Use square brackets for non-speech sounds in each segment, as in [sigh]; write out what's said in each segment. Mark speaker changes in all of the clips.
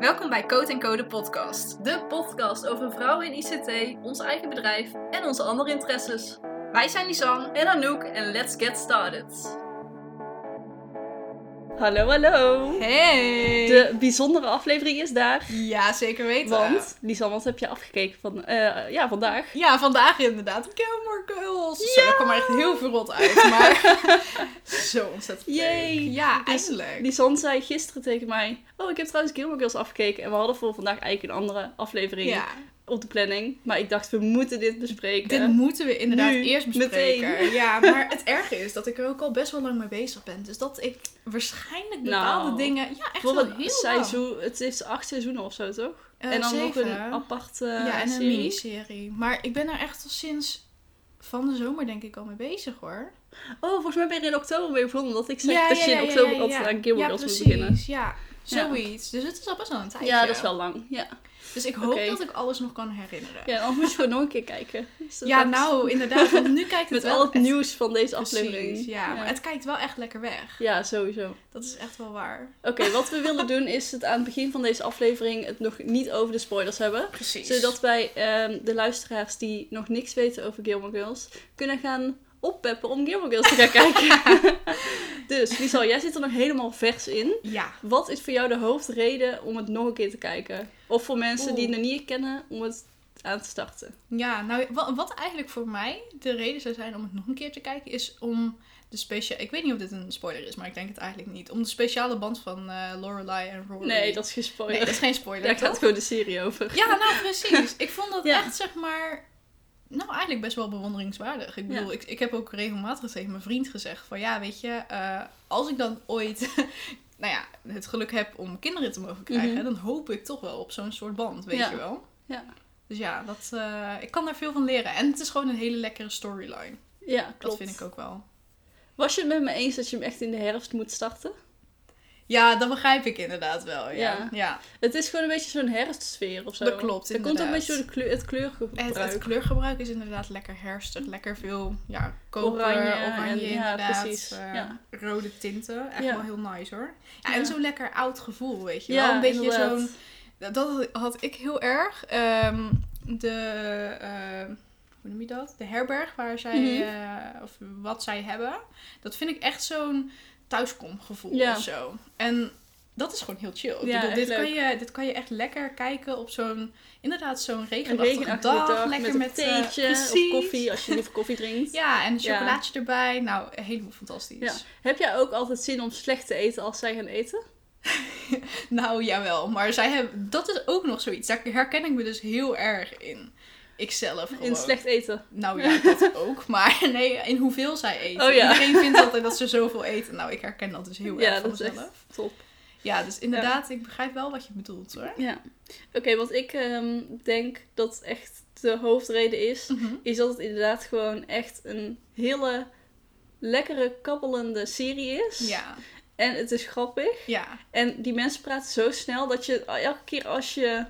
Speaker 1: Welkom bij Code Co, de podcast.
Speaker 2: De podcast over vrouwen in ICT, ons eigen bedrijf en onze andere interesses.
Speaker 1: Wij zijn Lisanne.
Speaker 2: En Anouk en let's get started. Hallo, hallo.
Speaker 1: Hey!
Speaker 2: De bijzondere aflevering is daar.
Speaker 1: Ja, zeker weten.
Speaker 2: Want, Lisanne, wat heb je afgekeken van, eh, ja, vandaag?
Speaker 1: Ja, vandaag inderdaad Gilmore Girls. Zo, daar kwam er echt heel veel rot uit,
Speaker 2: [laughs]
Speaker 1: maar zo ontzettend leuk.
Speaker 2: Yay.
Speaker 1: Ja,
Speaker 2: Dus-
Speaker 1: eindelijk.
Speaker 2: Lisanne zei gisteren tegen mij, oh, ik heb trouwens Gilmore Girls afgekeken. En we hadden voor vandaag eigenlijk een andere aflevering
Speaker 1: Ja,
Speaker 2: op de planning. Maar ik dacht, we moeten dit bespreken.
Speaker 1: dit moeten we inderdaad
Speaker 2: eh, Nu,
Speaker 1: eerst bespreken.
Speaker 2: [laughs] meteen.
Speaker 1: Ja, maar het erge is dat ik er ook al best wel lang mee bezig ben. Dus dat ik waarschijnlijk bepaalde
Speaker 2: Nou,
Speaker 1: dingen... Ja, echt
Speaker 2: voor
Speaker 1: wel heel
Speaker 2: het seizoen, het is acht seizoenen of zo, toch?
Speaker 1: lang. Eh,
Speaker 2: en dan nog
Speaker 1: zeven.
Speaker 2: een aparte
Speaker 1: ja, en een
Speaker 2: eh, serie.
Speaker 1: miniserie. Maar ik ben er echt al sinds van de zomer denk ik al mee bezig hoor.
Speaker 2: Oh, volgens mij ben je in oktober weer begonnen. Omdat ik zeg dat je in oktober altijd aan Gilmore
Speaker 1: Ja,
Speaker 2: Girls moet
Speaker 1: precies,
Speaker 2: beginnen.
Speaker 1: Ja, zoiets. Dus het is al best wel een tijdje.
Speaker 2: Ja, dat is wel lang. Ja,
Speaker 1: Dus ik hoop
Speaker 2: Oké.
Speaker 1: dat ik alles nog kan herinneren. Ja,
Speaker 2: ja dan moet je gewoon nog een keer kijken. Dus dat is-
Speaker 1: nou, inderdaad. Want nu kijkt het
Speaker 2: [laughs] Met
Speaker 1: wel
Speaker 2: al het
Speaker 1: echt-
Speaker 2: nieuws van deze
Speaker 1: Precies,
Speaker 2: aflevering.
Speaker 1: ja,
Speaker 2: ja.
Speaker 1: maar het kijkt wel echt lekker weg.
Speaker 2: Ja, sowieso.
Speaker 1: Dat is echt wel waar.
Speaker 2: Oké, wat we willen doen is het aan het begin van deze aflevering het nog niet over de spoilers hebben.
Speaker 1: Precies.
Speaker 2: Zodat wij ehm, de luisteraars die nog niks weten over Gilmore Girls kunnen gaan oppeppen om Gilmore Girls te
Speaker 1: [laughs]
Speaker 2: gaan kijken. [laughs] dus, Liesel, jij zit er nog helemaal vers in.
Speaker 1: Ja.
Speaker 2: Wat is voor jou de hoofdreden om het nog een keer te kijken? Of voor mensen die het nog niet kennen, om het aan te starten?
Speaker 1: Ja, nou, wat, wat eigenlijk voor mij de reden zou zijn om het nog een keer te kijken, is om de speciale... Ik weet niet of dit een spoiler is, maar ik denk het eigenlijk niet. Om de speciale band van eh Lorelai en Rory.
Speaker 2: Nee, dat is geen
Speaker 1: Nee,
Speaker 2: spoiler.
Speaker 1: dat is geen spoiler,
Speaker 2: Daar
Speaker 1: toch?
Speaker 2: gaat gewoon de serie over.
Speaker 1: Ja, nou precies. Ik vond dat
Speaker 2: [laughs] Ja.
Speaker 1: echt, zeg maar... Nou, eigenlijk best wel bewonderingswaardig. Ik bedoel, ik, ik heb ook regelmatig tegen mijn vriend gezegd van... Ja, weet je, eh, als ik dan ooit... [laughs] nou ja, het geluk heb om kinderen te mogen krijgen...
Speaker 2: Mhm.
Speaker 1: dan hoop ik toch wel op zo'n soort band, weet
Speaker 2: Ja.
Speaker 1: je wel?
Speaker 2: Ja.
Speaker 1: Dus ja, dat, eh, ik kan daar veel van leren. En het is gewoon een hele lekkere storyline.
Speaker 2: Ja, klopt.
Speaker 1: Dat vind ik ook wel.
Speaker 2: Was je het met me eens dat je hem echt in de herfst moet starten?
Speaker 1: Ja, dat begrijp ik inderdaad wel, ja.
Speaker 2: Ja.
Speaker 1: ja.
Speaker 2: Het is gewoon een beetje zo'n herfstsfeer of zo.
Speaker 1: Dat klopt,
Speaker 2: Er komt ook een
Speaker 1: inderdaad.
Speaker 2: beetje door de kleur, het
Speaker 1: Het,
Speaker 2: kleurgebruik.
Speaker 1: het kleurgebruik is inderdaad lekker herstig. Lekker veel ja, koper,
Speaker 2: Oranje
Speaker 1: oranje,
Speaker 2: en- ja,
Speaker 1: inderdaad.
Speaker 2: precies,
Speaker 1: eh,
Speaker 2: ja.
Speaker 1: Rode tinten. Echt
Speaker 2: Ja.
Speaker 1: wel heel nice hoor. Ja,
Speaker 2: Ja.
Speaker 1: En zo'n lekker oud gevoel, weet je wel. Een beetje
Speaker 2: inderdaad.
Speaker 1: zo'n... Dat had ik heel erg. Ehm, de... eh, hoe noem je dat? De herberg waar zij...
Speaker 2: Mhm.
Speaker 1: eh, of wat zij hebben. Dat vind ik echt zo'n thuiskomgevoel
Speaker 2: Ja.
Speaker 1: of zo. En... Dat is gewoon heel chill. Ik bedoel,
Speaker 2: Ja, echt
Speaker 1: dit, kan
Speaker 2: leuk.
Speaker 1: je, dit kan je echt lekker kijken op zo'n... Inderdaad, zo'n
Speaker 2: Een
Speaker 1: regenachtige,
Speaker 2: regenachtige dag,
Speaker 1: lekker met,
Speaker 2: een
Speaker 1: eh,
Speaker 2: theetje of
Speaker 1: precies.
Speaker 2: koffie, als je liever koffie drinkt.
Speaker 1: Ja, en een
Speaker 2: Ja.
Speaker 1: chocolaatje erbij. Nou, helemaal fantastisch.
Speaker 2: Ja. Heb jij ook altijd zin om slecht te eten als zij gaan eten?
Speaker 1: Nou, jawel. Maar zij hebben, dat is ook nog zoiets. Daar herken ik me dus heel erg in. Ikzelf gewoon.
Speaker 2: In slecht eten.
Speaker 1: Nou ja,
Speaker 2: [laughs]
Speaker 1: dat ook. Maar nee, in hoeveel zij eten.
Speaker 2: Oh ja.
Speaker 1: Iedereen vindt altijd dat ze zoveel eten. Nou, ik herken dat dus heel
Speaker 2: Ja,
Speaker 1: erg van
Speaker 2: dat is echt-
Speaker 1: mezelf.
Speaker 2: Top.
Speaker 1: Ja, dus inderdaad, ik begrijp wel wat je bedoelt hoor.
Speaker 2: Ja. Oké, want ik ehm, denk dat echt de hoofdreden is,
Speaker 1: Mhm.
Speaker 2: is dat het inderdaad gewoon echt een hele lekkere, kabbelende serie is.
Speaker 1: Ja,
Speaker 2: En het is grappig.
Speaker 1: ja.
Speaker 2: En die mensen praten zo snel dat je elke keer als je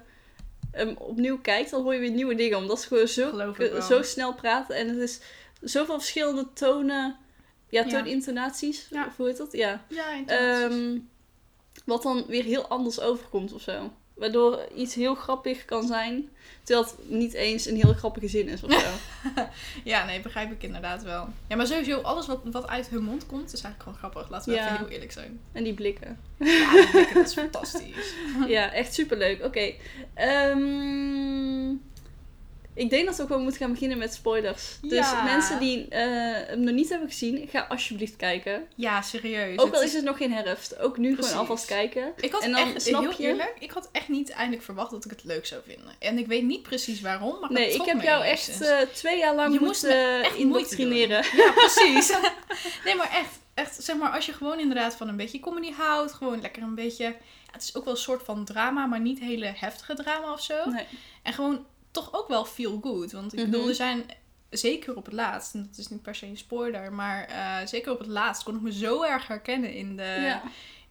Speaker 2: hem opnieuw kijkt, dan hoor je weer nieuwe dingen. Omdat ze gewoon zo, eh,
Speaker 1: Geloof ik wel.
Speaker 2: zo snel praten. En het is zoveel verschillende tonen. Ja,
Speaker 1: Ja.
Speaker 2: toonintonaties.
Speaker 1: Ja.
Speaker 2: Of hoe heet dat? Ja.
Speaker 1: Ja,
Speaker 2: Ehm, wat dan weer heel anders overkomt of zo. Waardoor iets heel grappig kan zijn, terwijl het niet eens een heel grappige zin is of zo.
Speaker 1: [laughs] Ja, nee, begrijp ik inderdaad wel. Ja, maar sowieso, alles wat, wat uit hun mond komt, is eigenlijk gewoon grappig. Laten we
Speaker 2: Ja.
Speaker 1: even heel eerlijk zijn.
Speaker 2: en die blikken.
Speaker 1: Ja, die blikken, dat is fantastisch.
Speaker 2: [laughs] Ja, echt superleuk. Oké. Ehm, ik denk dat we gewoon moeten gaan beginnen met spoilers. Dus
Speaker 1: Ja.
Speaker 2: mensen die eh, hem nog niet hebben gezien, ga alsjeblieft kijken.
Speaker 1: Ja, serieus.
Speaker 2: Ook al
Speaker 1: Het dus-
Speaker 2: is het nog geen herfst, ook nu
Speaker 1: Precies. Oh,
Speaker 2: gewoon alvast kijken.
Speaker 1: Ik had
Speaker 2: en dan
Speaker 1: echt,
Speaker 2: snap
Speaker 1: heel
Speaker 2: je-
Speaker 1: eerlijk, ik had echt niet eindelijk verwacht dat ik het leuk zou vinden. En ik weet niet precies waarom, maar
Speaker 2: Nee,
Speaker 1: dat
Speaker 2: ik
Speaker 1: trok
Speaker 2: heb
Speaker 1: me
Speaker 2: jou echt
Speaker 1: enigszins.
Speaker 2: eh, twee jaar lang
Speaker 1: Je moest
Speaker 2: moeten eh,
Speaker 1: echt moeite doen.
Speaker 2: indoctrineren.
Speaker 1: Ja, precies. [laughs] nee, maar echt, echt, zeg maar, als je gewoon inderdaad van een beetje comedy houdt, gewoon lekker een beetje... ja, het is ook wel een soort van drama, maar niet hele heftige drama of zo.
Speaker 2: Nee.
Speaker 1: En gewoon toch ook wel feel good. Want ik
Speaker 2: Mhm.
Speaker 1: bedoel, er zijn zeker op het laatst, en dat is niet per se een spoiler, maar eh, zeker op het laatst kon ik me zo erg herkennen in de,
Speaker 2: ja.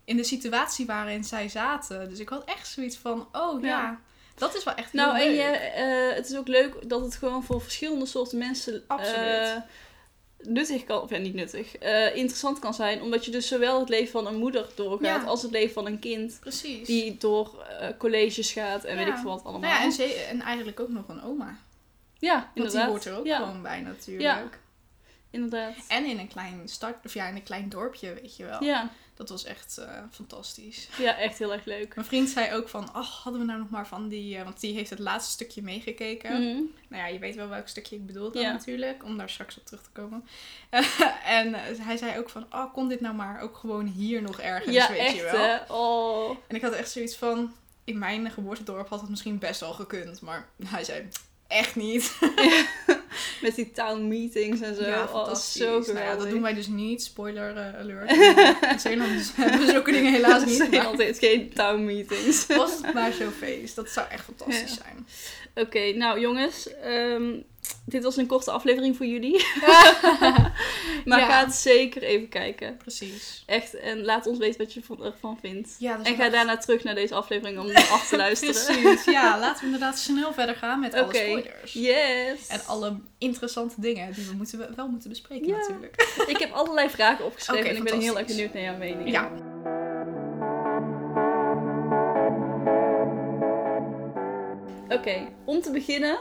Speaker 1: in de situatie waarin zij zaten. Dus ik had echt zoiets van, oh ja,
Speaker 2: Ja.
Speaker 1: dat is wel echt heel
Speaker 2: Nou, en
Speaker 1: leuk.
Speaker 2: je, eh, het is ook leuk dat het gewoon voor verschillende soorten mensen eh,
Speaker 1: Absoluut.
Speaker 2: nuttig kan, of ja, niet nuttig, eh, interessant kan zijn. Omdat je dus zowel het leven van een moeder doorgaat
Speaker 1: Ja.
Speaker 2: als het leven van een kind.
Speaker 1: Precies.
Speaker 2: Die door eh, colleges gaat en
Speaker 1: Ja.
Speaker 2: weet ik veel wat allemaal.
Speaker 1: Nou ja, en, ze- en eigenlijk ook nog een oma. Want
Speaker 2: Ja, inderdaad.
Speaker 1: die hoort er ook
Speaker 2: ja,
Speaker 1: gewoon Oh. bij natuurlijk.
Speaker 2: Inderdaad.
Speaker 1: En in een klein start, of ja, in een klein dorpje, weet je wel.
Speaker 2: Ja.
Speaker 1: Dat was echt eh, fantastisch.
Speaker 2: ja, echt heel erg leuk.
Speaker 1: Mijn vriend zei ook van, ach, hadden we nou nog maar van die... eh," want die heeft het laatste stukje meegekeken.
Speaker 2: Mhm.
Speaker 1: Nou ja, je weet wel welk stukje ik bedoel dan
Speaker 2: Ja.
Speaker 1: natuurlijk. Om daar straks op terug te komen. [laughs] en eh, hij zei ook van, oh, kon dit nou maar ook gewoon hier nog ergens,
Speaker 2: Ja,
Speaker 1: weet
Speaker 2: echt
Speaker 1: je wel.
Speaker 2: hè. Oh.
Speaker 1: En ik had echt zoiets van, in mijn geboortedorp had het misschien best wel gekund. Maar [laughs] hij zei, echt niet. [laughs]
Speaker 2: Met die town meetings en zo.
Speaker 1: ja,
Speaker 2: oh,
Speaker 1: fantastisch.
Speaker 2: zo geweldig.
Speaker 1: nou ja, dat doen wij dus niet. Spoiler eh, [laughs] alert. In [laughs] Zeeland hebben we zulke dingen
Speaker 2: [laughs]
Speaker 1: helaas niet.
Speaker 2: Er zijn
Speaker 1: Maar
Speaker 2: altijd geen town meetings.
Speaker 1: was het maar zo'n feest. Dat zou echt fantastisch zijn.
Speaker 2: Oké, nou jongens, ehm, dit was een korte aflevering voor
Speaker 1: [laughs]
Speaker 2: jullie. [laughs] maar
Speaker 1: Ja.
Speaker 2: ga het zeker even kijken.
Speaker 1: Precies.
Speaker 2: Echt, en laat ons weten wat je van- ervan vindt.
Speaker 1: Ja, dat is
Speaker 2: En ga
Speaker 1: echt-
Speaker 2: daarna terug naar deze aflevering om [laughs] af
Speaker 1: [laughs]
Speaker 2: te luisteren.
Speaker 1: Precies, ja. Laten we inderdaad snel verder gaan met alle
Speaker 2: Oké.
Speaker 1: spoilers.
Speaker 2: Yes!
Speaker 1: En alle interessante dingen die we moeten, we- wel moeten bespreken
Speaker 2: Ja.
Speaker 1: natuurlijk.
Speaker 2: Ik heb allerlei vragen opgeschreven
Speaker 1: Oké,
Speaker 2: en ik ben heel erg
Speaker 1: fantastisch.
Speaker 2: benieuwd naar jouw mening.
Speaker 1: Ja.
Speaker 2: Oké, om te beginnen,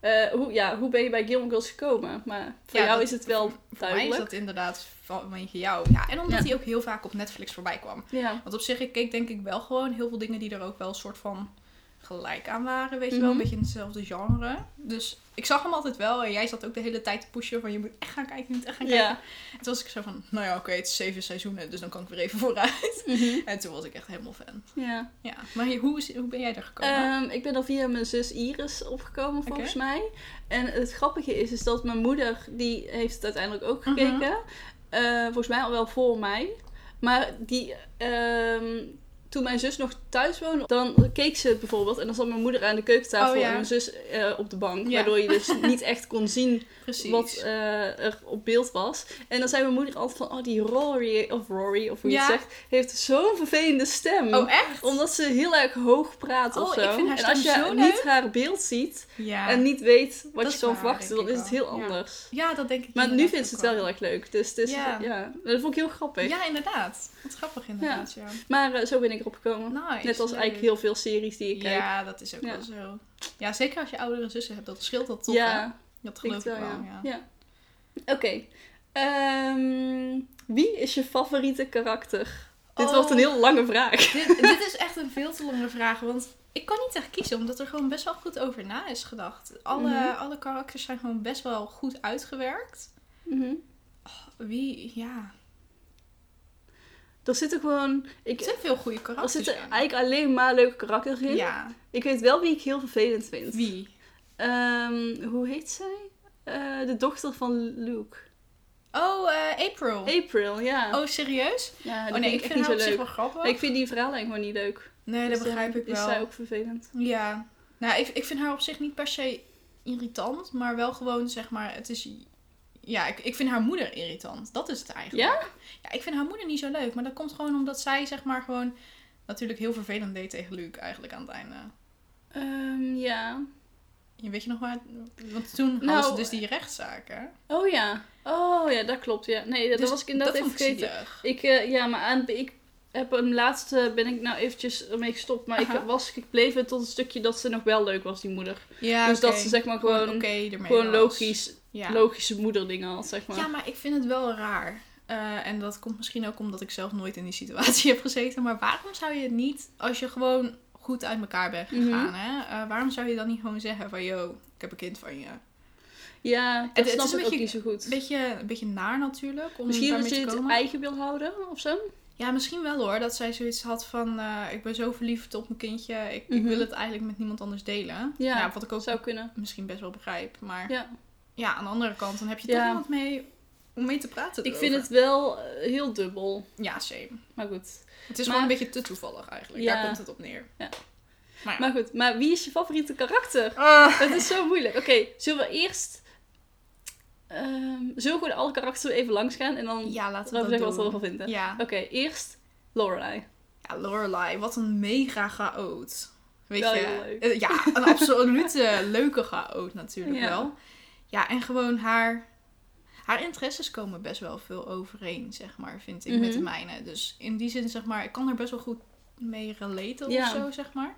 Speaker 2: eh, hoe, ja, hoe ben je bij Gilmore Girls gekomen? Maar voor
Speaker 1: Ja,
Speaker 2: jou
Speaker 1: dat-
Speaker 2: is het wel
Speaker 1: Voor mij
Speaker 2: duidelijk.
Speaker 1: is dat inderdaad vanwege jou. Ja, en omdat
Speaker 2: Ja.
Speaker 1: hij ook heel vaak op Netflix voorbij kwam.
Speaker 2: Ja.
Speaker 1: Want op zich, ik keek denk ik wel gewoon heel veel dingen die er ook wel een soort van gelijk aan waren, weet je wel.
Speaker 2: Mhm.
Speaker 1: Een beetje in hetzelfde genre. Dus ik zag hem altijd wel en jij zat ook de hele tijd te pushen van je moet echt gaan kijken, je moet echt gaan kijken.
Speaker 2: Ja.
Speaker 1: En toen was ik zo van, nou ja, oké, het is zeven seizoenen, dus dan kan ik weer even vooruit.
Speaker 2: Mhm.
Speaker 1: En toen was ik echt helemaal fan.
Speaker 2: ja.
Speaker 1: Ja, maar hoe, is, hoe ben jij daar gekomen?
Speaker 2: Ehm, ik ben al via mijn zus Iris opgekomen, volgens mij. En het grappige is, is dat mijn moeder, die heeft het uiteindelijk ook
Speaker 1: Mhm.
Speaker 2: gekeken. Eh, volgens mij al wel voor mij. Maar die, ehm, toen mijn zus nog thuis woonde, dan keek ze het bijvoorbeeld. En dan zat mijn moeder aan de keukentafel
Speaker 1: Oh, ja.
Speaker 2: en mijn zus eh, op de bank.
Speaker 1: Ja.
Speaker 2: Waardoor je
Speaker 1: [laughs]
Speaker 2: dus niet echt kon zien
Speaker 1: Precies.
Speaker 2: wat eh, er op beeld was. En dan zei mijn moeder altijd van, oh die Rory, of Rory, of hoe je het
Speaker 1: Ja.
Speaker 2: zegt, heeft zo'n vervelende stem
Speaker 1: oh, echt?
Speaker 2: omdat ze heel erg hoog praat
Speaker 1: Oh,
Speaker 2: of zo.
Speaker 1: ik vind haar
Speaker 2: en als je
Speaker 1: stem zo
Speaker 2: niet
Speaker 1: leuk.
Speaker 2: haar beeld ziet
Speaker 1: Ja.
Speaker 2: en niet weet wat
Speaker 1: Dat
Speaker 2: je
Speaker 1: is
Speaker 2: kan
Speaker 1: waar,
Speaker 2: verwachten,
Speaker 1: denk
Speaker 2: dan
Speaker 1: ik
Speaker 2: is het heel
Speaker 1: wel. Ja.
Speaker 2: anders.
Speaker 1: Ja, dat denk ik.
Speaker 2: Maar nu
Speaker 1: inderdaad
Speaker 2: vindt ze
Speaker 1: ook
Speaker 2: het wel heel erg leuk. Dus, dus ja.
Speaker 1: Ja.
Speaker 2: dat vond ik heel grappig.
Speaker 1: Ja, inderdaad. Wat grappig inderdaad, ja.
Speaker 2: Maar eh, zo ben ik erop gekomen.
Speaker 1: Nice.
Speaker 2: Net als
Speaker 1: leuk.
Speaker 2: eigenlijk heel veel series die ik kijk.
Speaker 1: Ja, dat is ook
Speaker 2: Ja.
Speaker 1: wel zo. Ja, zeker als je oudere zussen hebt, dat scheelt dat toch, hè? Dat
Speaker 2: ik
Speaker 1: geloof ik wel, ja.
Speaker 2: Ja. Oké. Ehm, wie is je favoriete karakter? Dit
Speaker 1: Oh.
Speaker 2: wordt een heel lange vraag.
Speaker 1: dit, dit is echt een veel te lange vraag, want ik kan niet echt kiezen, omdat er gewoon best wel goed over na is gedacht. Alle,
Speaker 2: Mhm.
Speaker 1: alle karakters zijn gewoon best wel goed uitgewerkt.
Speaker 2: Mhm.
Speaker 1: Wie, ja...
Speaker 2: Er zitten gewoon...
Speaker 1: Er
Speaker 2: Ik,
Speaker 1: zijn veel goede
Speaker 2: er
Speaker 1: karakters
Speaker 2: zitten
Speaker 1: in.
Speaker 2: eigenlijk alleen maar leuke karakters in.
Speaker 1: Ja,
Speaker 2: Ik weet wel wie ik heel vervelend vind.
Speaker 1: wie?
Speaker 2: Ehm, hoe heet zij? Eh, de dochter van Luke.
Speaker 1: Oh, eh, April.
Speaker 2: April, ja.
Speaker 1: Oh, serieus?
Speaker 2: ja die
Speaker 1: oh nee,
Speaker 2: vind
Speaker 1: ik
Speaker 2: ik
Speaker 1: vind haar
Speaker 2: echt
Speaker 1: op
Speaker 2: niet zo
Speaker 1: zich
Speaker 2: leuk.
Speaker 1: wel grappig.
Speaker 2: Nee, ik vind die verhaallijn gewoon niet leuk.
Speaker 1: Nee,
Speaker 2: Dus
Speaker 1: dat
Speaker 2: dan
Speaker 1: begrijp ik
Speaker 2: Is
Speaker 1: wel.
Speaker 2: zij ook vervelend?
Speaker 1: Ja, nou, ik, ik vind haar op zich niet per se irritant, maar wel gewoon zeg maar, het is. Ja, ik, ik vind haar moeder irritant. Dat is het eigenlijk.
Speaker 2: Ja?
Speaker 1: Ja, ik vind haar moeder niet zo leuk, maar dat komt gewoon omdat zij zeg maar gewoon natuurlijk heel vervelend deed tegen Luc eigenlijk aan het einde.
Speaker 2: Ehm, ja.
Speaker 1: Je weet je nog waar? Want toen hadden
Speaker 2: Nou,
Speaker 1: ze dus die rechtszaak, hè?
Speaker 2: Oh ja. Oh ja, dat klopt. Ja. Nee, dat,
Speaker 1: Dus
Speaker 2: was ik inderdaad
Speaker 1: dat
Speaker 2: even
Speaker 1: vond ik
Speaker 2: vergeten.
Speaker 1: zielig.
Speaker 2: Ik, eh, ja, maar aan, ik heb een laatste, ben ik nou eventjes ermee gestopt. Maar ik
Speaker 1: Aha.
Speaker 2: was gebleven tot het stukje dat ze nog wel leuk was, die moeder.
Speaker 1: Ja,
Speaker 2: dus dat
Speaker 1: Ah, oké.
Speaker 2: ze zeg maar gewoon,
Speaker 1: oké ermee
Speaker 2: gewoon
Speaker 1: was.
Speaker 2: logisch,
Speaker 1: Ja.
Speaker 2: logische moederdingen had, zeg maar.
Speaker 1: Ja, maar ik vind het wel raar. Eh, en dat komt misschien ook omdat ik zelf nooit in die situatie [laughs] heb gezeten. Maar waarom zou je het niet, als je gewoon goed uit elkaar bent gegaan,
Speaker 2: Mhm.
Speaker 1: hè, eh, waarom zou je dan niet gewoon zeggen van, yo, ik heb een kind van je?
Speaker 2: Ja, dat
Speaker 1: Het- het
Speaker 2: snap
Speaker 1: is een
Speaker 2: ik ook
Speaker 1: beetje-
Speaker 2: niet zo goed.
Speaker 1: Een beetje, een beetje naar natuurlijk, om
Speaker 2: Misschien dat
Speaker 1: daarmee
Speaker 2: je
Speaker 1: te
Speaker 2: het
Speaker 1: komen.
Speaker 2: eigen wil houden of zo.
Speaker 1: Ja, misschien wel hoor, dat zij zoiets had van, eh, ik ben zo verliefd op mijn kindje, ik, ik
Speaker 2: Mhm.
Speaker 1: wil het eigenlijk met niemand anders delen.
Speaker 2: Ja,
Speaker 1: Nou, wat ik ook
Speaker 2: Dat zou kunnen.
Speaker 1: misschien best wel begrijp. Maar ja.
Speaker 2: Ja.
Speaker 1: aan de andere kant, dan heb je
Speaker 2: Ja.
Speaker 1: toch iemand mee om mee te praten
Speaker 2: Ik vind
Speaker 1: erover.
Speaker 2: het wel eh, heel dubbel.
Speaker 1: Ja, same.
Speaker 2: Maar goed.
Speaker 1: Het is
Speaker 2: Maar-
Speaker 1: gewoon een beetje te toevallig eigenlijk.
Speaker 2: Ja.
Speaker 1: Daar komt het op neer.
Speaker 2: Ja.
Speaker 1: Maar, ja.
Speaker 2: Maar goed, maar wie is je favoriete karakter?
Speaker 1: Ah.
Speaker 2: Dat is zo moeilijk. Oké, zullen we eerst... ehm zullen we gewoon alle karakters even langs gaan en dan
Speaker 1: ja, laten we dat
Speaker 2: erover zeggen wat we
Speaker 1: doen.
Speaker 2: ervan vinden?
Speaker 1: Ja.
Speaker 2: Oké, eerst Lorelai.
Speaker 1: ja, Lorelai, wat een mega chaot. Weet
Speaker 2: Wel heel
Speaker 1: je?
Speaker 2: leuk.
Speaker 1: Eh, Ja, een
Speaker 2: [laughs]
Speaker 1: absolute leuke chaot natuurlijk
Speaker 2: Ja.
Speaker 1: wel. Ja, en gewoon haar... haar interesses komen best wel veel overeen, zeg maar, vind ik, met de
Speaker 2: Mhm.
Speaker 1: mijne. Dus in die zin, zeg maar, ik kan er best wel goed mee relaten
Speaker 2: Ja.
Speaker 1: of zo, zeg maar.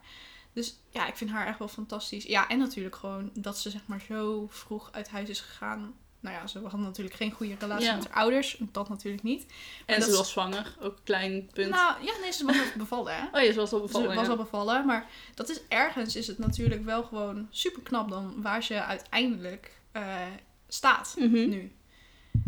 Speaker 1: Dus ja, ik vind haar echt wel fantastisch. Ja, en natuurlijk gewoon dat ze, zeg maar, zo vroeg uit huis is gegaan. Nou ja, ze hadden natuurlijk geen goede relatie
Speaker 2: Ja.
Speaker 1: met haar ouders. Dat natuurlijk niet. Maar
Speaker 2: En
Speaker 1: dat
Speaker 2: ze
Speaker 1: is-
Speaker 2: was zwanger, ook een klein punt.
Speaker 1: Nou, ja, nee, ze was
Speaker 2: [laughs]
Speaker 1: nog bevallen, hè?
Speaker 2: oh ja, ze was al
Speaker 1: Ze
Speaker 2: bevallen.
Speaker 1: Dus was
Speaker 2: ja.
Speaker 1: al bevallen, maar dat is ergens is het natuurlijk wel gewoon super knap dan waar ze uiteindelijk eh, staat
Speaker 2: Mhm.
Speaker 1: nu.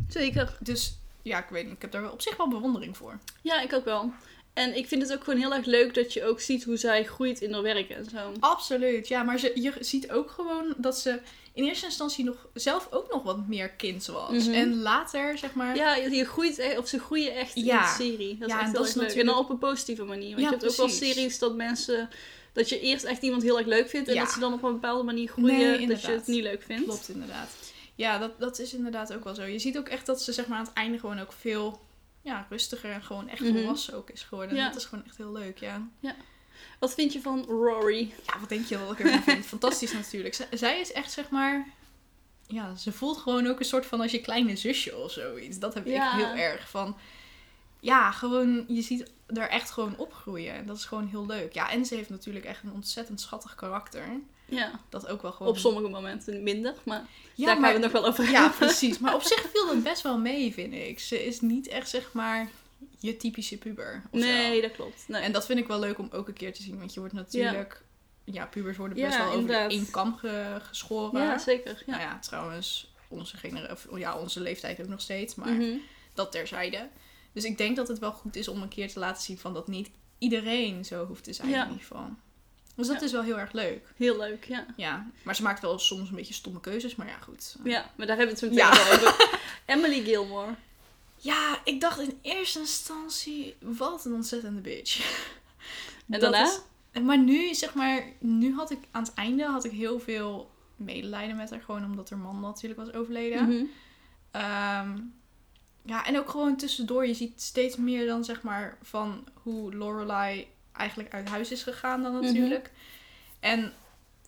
Speaker 2: Zeker.
Speaker 1: Dus ja, ik weet niet, ik heb daar wel op zich wel bewondering voor.
Speaker 2: Ja, ik ook wel. En ik vind het ook gewoon heel erg leuk dat je ook ziet hoe zij groeit in haar werk en zo.
Speaker 1: Absoluut, ja, maar ze, je ziet ook gewoon dat ze in eerste instantie nog zelf ook nog wat meer kind was.
Speaker 2: Mhm.
Speaker 1: En later, zeg maar,
Speaker 2: Ja, je je groeit echt, of ze groeien echt in
Speaker 1: Ja.
Speaker 2: de serie. Dat is
Speaker 1: Ja,
Speaker 2: echt
Speaker 1: en
Speaker 2: heel
Speaker 1: dat
Speaker 2: erg
Speaker 1: is
Speaker 2: leuk.
Speaker 1: natuurlijk-
Speaker 2: En dan op een positieve manier. Want
Speaker 1: Ja,
Speaker 2: je hebt ook wel
Speaker 1: precies.
Speaker 2: series dat mensen... Dat je eerst echt iemand heel erg leuk vindt. En
Speaker 1: Ja.
Speaker 2: dat ze dan op een bepaalde manier
Speaker 1: Nee,
Speaker 2: groeien. dat je
Speaker 1: inderdaad.
Speaker 2: het niet leuk vindt.
Speaker 1: klopt inderdaad. Ja, dat, dat is inderdaad ook wel zo. Je ziet ook echt dat ze zeg maar, aan het einde gewoon ook veel ja, rustiger en gewoon echt
Speaker 2: Mhm.
Speaker 1: volwassen ook is geworden. En
Speaker 2: Ja.
Speaker 1: dat is gewoon echt heel leuk, ja.
Speaker 2: Wat vind je van Rory?
Speaker 1: Ja, wat denk je wel dat ik ervan vind? Fantastisch natuurlijk. Z- zij is echt, zeg maar... Ja, ze voelt gewoon ook een soort van als je kleine zusje of zoiets. Dat heb
Speaker 2: Ja.
Speaker 1: ik heel erg van... Ja, gewoon, je ziet daar echt gewoon opgroeien. En dat is gewoon heel leuk. Ja, en ze heeft natuurlijk echt een ontzettend schattig karakter.
Speaker 2: Ja,
Speaker 1: Dat ook wel gewoon...
Speaker 2: op sommige momenten minder. Maar
Speaker 1: ja,
Speaker 2: daar gaan
Speaker 1: maar-
Speaker 2: we het nog wel over
Speaker 1: Ja,
Speaker 2: hebben.
Speaker 1: precies. Maar op zich viel dat best wel mee, vind ik. Ze is niet echt, zeg maar, je typische puber. of zo.
Speaker 2: Nee, dat klopt. Nee.
Speaker 1: En dat vind ik wel leuk om ook een keer te zien. Want je wordt natuurlijk... Ja, pubers worden best
Speaker 2: Ja,
Speaker 1: wel over
Speaker 2: inderdaad.
Speaker 1: de één kam ge- geschoren.
Speaker 2: ja, zeker. Ja.
Speaker 1: Nou ja, trouwens, onze, gener- of, ja, onze leeftijd ook nog steeds. Maar
Speaker 2: Mhm.
Speaker 1: dat terzijde. Dus ik denk dat het wel goed is om een keer te laten zien van dat niet iedereen zo hoeft te zijn
Speaker 2: Ja.
Speaker 1: in ieder geval. Dus dat
Speaker 2: Ja.
Speaker 1: is wel heel erg leuk.
Speaker 2: Heel leuk, ja.
Speaker 1: Ja, maar ze maakt wel soms een beetje stomme keuzes. Maar ja, goed.
Speaker 2: Ja, maar daar hebben we het zo
Speaker 1: Ja.
Speaker 2: meteen wel over. [laughs] Emily Gilmore.
Speaker 1: Ja, ik dacht in eerste instantie, wat een ontzettende bitch. Dat
Speaker 2: En daarna?
Speaker 1: is- maar nu, zeg maar, nu had ik aan het einde had ik heel veel medelijden met haar. Gewoon omdat haar man natuurlijk was overleden.
Speaker 2: Mhm.
Speaker 1: Ehm, ja, en ook gewoon tussendoor. Je ziet steeds meer dan zeg maar van hoe Lorelai eigenlijk uit huis is gegaan
Speaker 2: Mhm.
Speaker 1: dan natuurlijk. En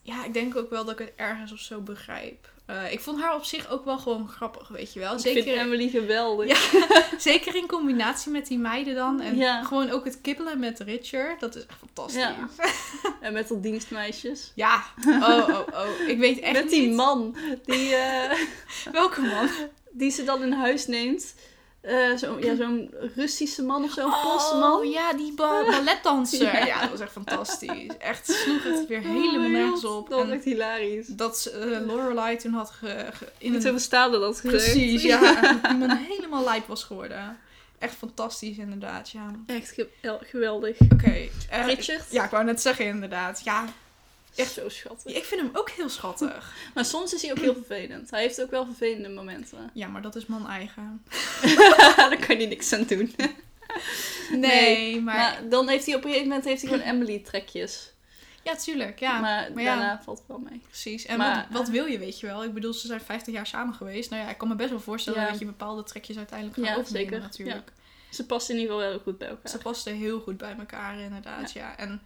Speaker 1: ja, ik denk ook wel dat ik het ergens of zo begrijp. Eh, ik vond haar op zich ook wel gewoon grappig, weet je wel.
Speaker 2: Ik vind
Speaker 1: Zeker,
Speaker 2: Emily geweldig.
Speaker 1: Ja. zeker in combinatie met die meiden dan. En
Speaker 2: Ja.
Speaker 1: gewoon ook het kibbelen met Richard. Dat is echt fantastisch.
Speaker 2: Ja.
Speaker 1: Ja,
Speaker 2: En met dat dienstmeisjes.
Speaker 1: oh, oh, oh. Ik weet echt
Speaker 2: met die
Speaker 1: niet
Speaker 2: man
Speaker 1: [laughs]
Speaker 2: die, eh,
Speaker 1: welke man.
Speaker 2: die ze dan in huis neemt. Eh, zo, ja, zo'n Russische man of zo'n Poolse man.
Speaker 1: Oh ja, die ba- balletdanser.
Speaker 2: Ja.
Speaker 1: ja. dat was echt fantastisch. Echt sloeg het weer
Speaker 2: Oh
Speaker 1: helemaal
Speaker 2: my
Speaker 1: nergens
Speaker 2: god,
Speaker 1: op.
Speaker 2: Dat was
Speaker 1: En
Speaker 2: echt hilarisch.
Speaker 1: dat ze, eh, Lorelai toen had ge, ge- in
Speaker 2: Niet zo
Speaker 1: een...
Speaker 2: bestaande dat gezegd.
Speaker 1: Precies, ja. [laughs] Dat die man helemaal lijp was geworden. Echt fantastisch inderdaad, ja.
Speaker 2: [laughs] Echt ge- geweldig.
Speaker 1: Oké. eh,
Speaker 2: Richard?
Speaker 1: Ja, ik wou net zeggen inderdaad. Ja,
Speaker 2: Echt zo schattig.
Speaker 1: ik vind hem ook heel schattig.
Speaker 2: Maar soms is hij ook heel vervelend. Hij heeft ook wel vervelende
Speaker 1: [laughs]
Speaker 2: momenten. [laughs]
Speaker 1: Ja, maar dat is man eigen.
Speaker 2: Daar kan je niks aan doen. [laughs]
Speaker 1: Nee,
Speaker 2: Nee,
Speaker 1: maar...
Speaker 2: Maar dan heeft hij op een gegeven moment heeft hij gewoon Emily-trekjes.
Speaker 1: Ja, tuurlijk, ja.
Speaker 2: maar,
Speaker 1: maar ja.
Speaker 2: daarna valt het wel mee.
Speaker 1: Precies. En
Speaker 2: Maar-
Speaker 1: wat, wat wil je, weet je wel? Ik bedoel, ze zijn 50 jaar samen geweest. Nou ja, ik kan me best wel voorstellen
Speaker 2: Ja.
Speaker 1: dat je bepaalde trekjes uiteindelijk gaat
Speaker 2: Ja,
Speaker 1: overnemen
Speaker 2: zeker.
Speaker 1: natuurlijk.
Speaker 2: Ze past in ieder geval wel heel goed bij elkaar.
Speaker 1: Ze pasten heel goed bij elkaar inderdaad, ja. En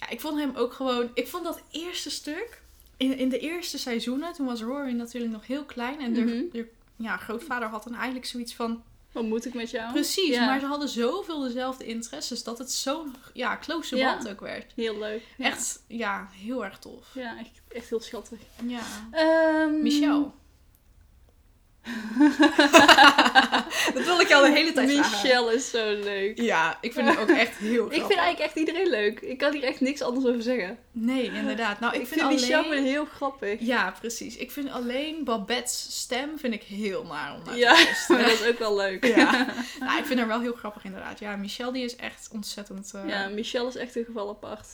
Speaker 1: ja, ik vond hem ook gewoon... Ik vond dat eerste stuk, in, in de eerste seizoenen, toen was Rory natuurlijk nog heel klein. En haar-
Speaker 2: Mhm.
Speaker 1: haar- ja, grootvader had dan eigenlijk zoiets van...
Speaker 2: Wat moet ik met jou?
Speaker 1: Precies,
Speaker 2: Ja.
Speaker 1: maar ze hadden zoveel dezelfde interesses dat het zo'n ja, close
Speaker 2: Ja.
Speaker 1: band ook werd.
Speaker 2: Heel leuk. Ja.
Speaker 1: Echt, ja, heel erg tof.
Speaker 2: Ja, echt, echt heel schattig.
Speaker 1: Ja.
Speaker 2: Ehm,
Speaker 1: Michelle. [laughs] dat wil ik jou de hele tijd vragen.
Speaker 2: Michelle is zo leuk.
Speaker 1: Ja, ik vind hem ook echt heel grappig.
Speaker 2: Ik vind eigenlijk echt iedereen leuk. Ik kan hier echt niks anders over zeggen.
Speaker 1: Nee, inderdaad. Nou, ik,
Speaker 2: Ik
Speaker 1: vind,
Speaker 2: vind
Speaker 1: alleen...
Speaker 2: Michelle heel grappig.
Speaker 1: Ja, precies. Ik vind alleen Babette's stem vind ik heel naar om naar te
Speaker 2: Ja,
Speaker 1: luisteren.
Speaker 2: maar dat is ook wel leuk.
Speaker 1: [laughs] Ja. Nou, ik vind haar wel heel grappig inderdaad. Ja, Michelle die is echt ontzettend... eh,
Speaker 2: Ja,
Speaker 1: Ja.
Speaker 2: Michelle is echt een geval apart.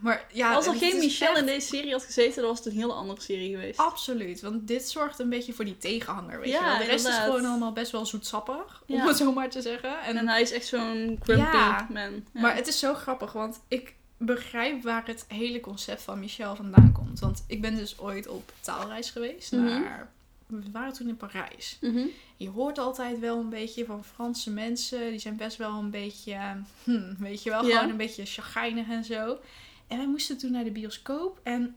Speaker 1: maar... Ja,
Speaker 2: Als er
Speaker 1: het
Speaker 2: geen
Speaker 1: is
Speaker 2: Michelle
Speaker 1: echt-
Speaker 2: in deze serie had gezeten, dan was het een hele andere serie geweest.
Speaker 1: Absoluut, want dit zorgt een beetje voor die tegenhanger, weet
Speaker 2: Ja,
Speaker 1: je wel. De rest
Speaker 2: inderdaad.
Speaker 1: is gewoon allemaal best wel zoetsappig,
Speaker 2: Ja.
Speaker 1: om het zo maar te zeggen. En,
Speaker 2: En hij is echt zo'n grumpy
Speaker 1: Ja,
Speaker 2: man. Ja.
Speaker 1: Maar het is zo grappig, want ik begrijp waar het hele concept van Michel vandaan komt. Want ik ben dus ooit op taalreis geweest
Speaker 2: Mhm.
Speaker 1: naar... We waren toen in Parijs. [laughs]
Speaker 2: Mhm.
Speaker 1: Je hoort altijd wel een beetje van Franse mensen. Die zijn best wel een beetje... hm, weet je wel,
Speaker 2: Ja.
Speaker 1: gewoon een beetje chagrijnig en zo. En wij moesten toen naar de bioscoop. En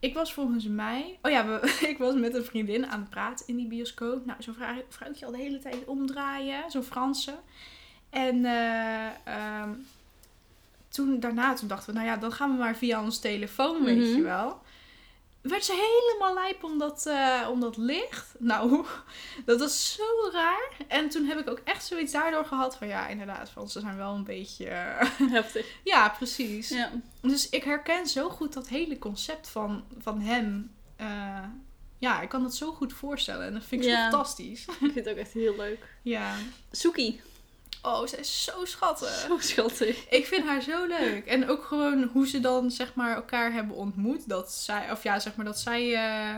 Speaker 1: Ik was volgens mij... Oh ja, we, [laughs] ik was met een vriendin aan het praten in die bioscoop. Nou, zo'n vrou- vrouwtje al de hele tijd omdraaien. Zo'n Franse. En eh, ehm, toen daarna, toen dachten we... Nou ja, dan gaan we maar via ons telefoon, weet
Speaker 2: Mhm.
Speaker 1: je wel. Werd ze helemaal lijp om dat, eh, om dat licht. Nou, [laughs] dat was zo raar. En toen heb ik ook echt zoiets daardoor gehad van... Ja, inderdaad, Fransen zijn wel een beetje... eh, [laughs]
Speaker 2: Heftig.
Speaker 1: ja, precies.
Speaker 2: Ja.
Speaker 1: Dus ik herken zo goed dat hele concept van, van hem. Eh, ja, ik kan dat zo goed voorstellen. En dat vind ik zo
Speaker 2: Ja.
Speaker 1: fantastisch. [laughs]
Speaker 2: Ik vind het ook echt heel leuk.
Speaker 1: Ja.
Speaker 2: Soekie.
Speaker 1: Oh, ze is zo schattig.
Speaker 2: Zo schattig.
Speaker 1: [laughs] Ik vind haar zo leuk. En ook gewoon hoe ze dan, zeg maar, elkaar hebben ontmoet. Dat zij, of ja, zeg maar, dat zij eh,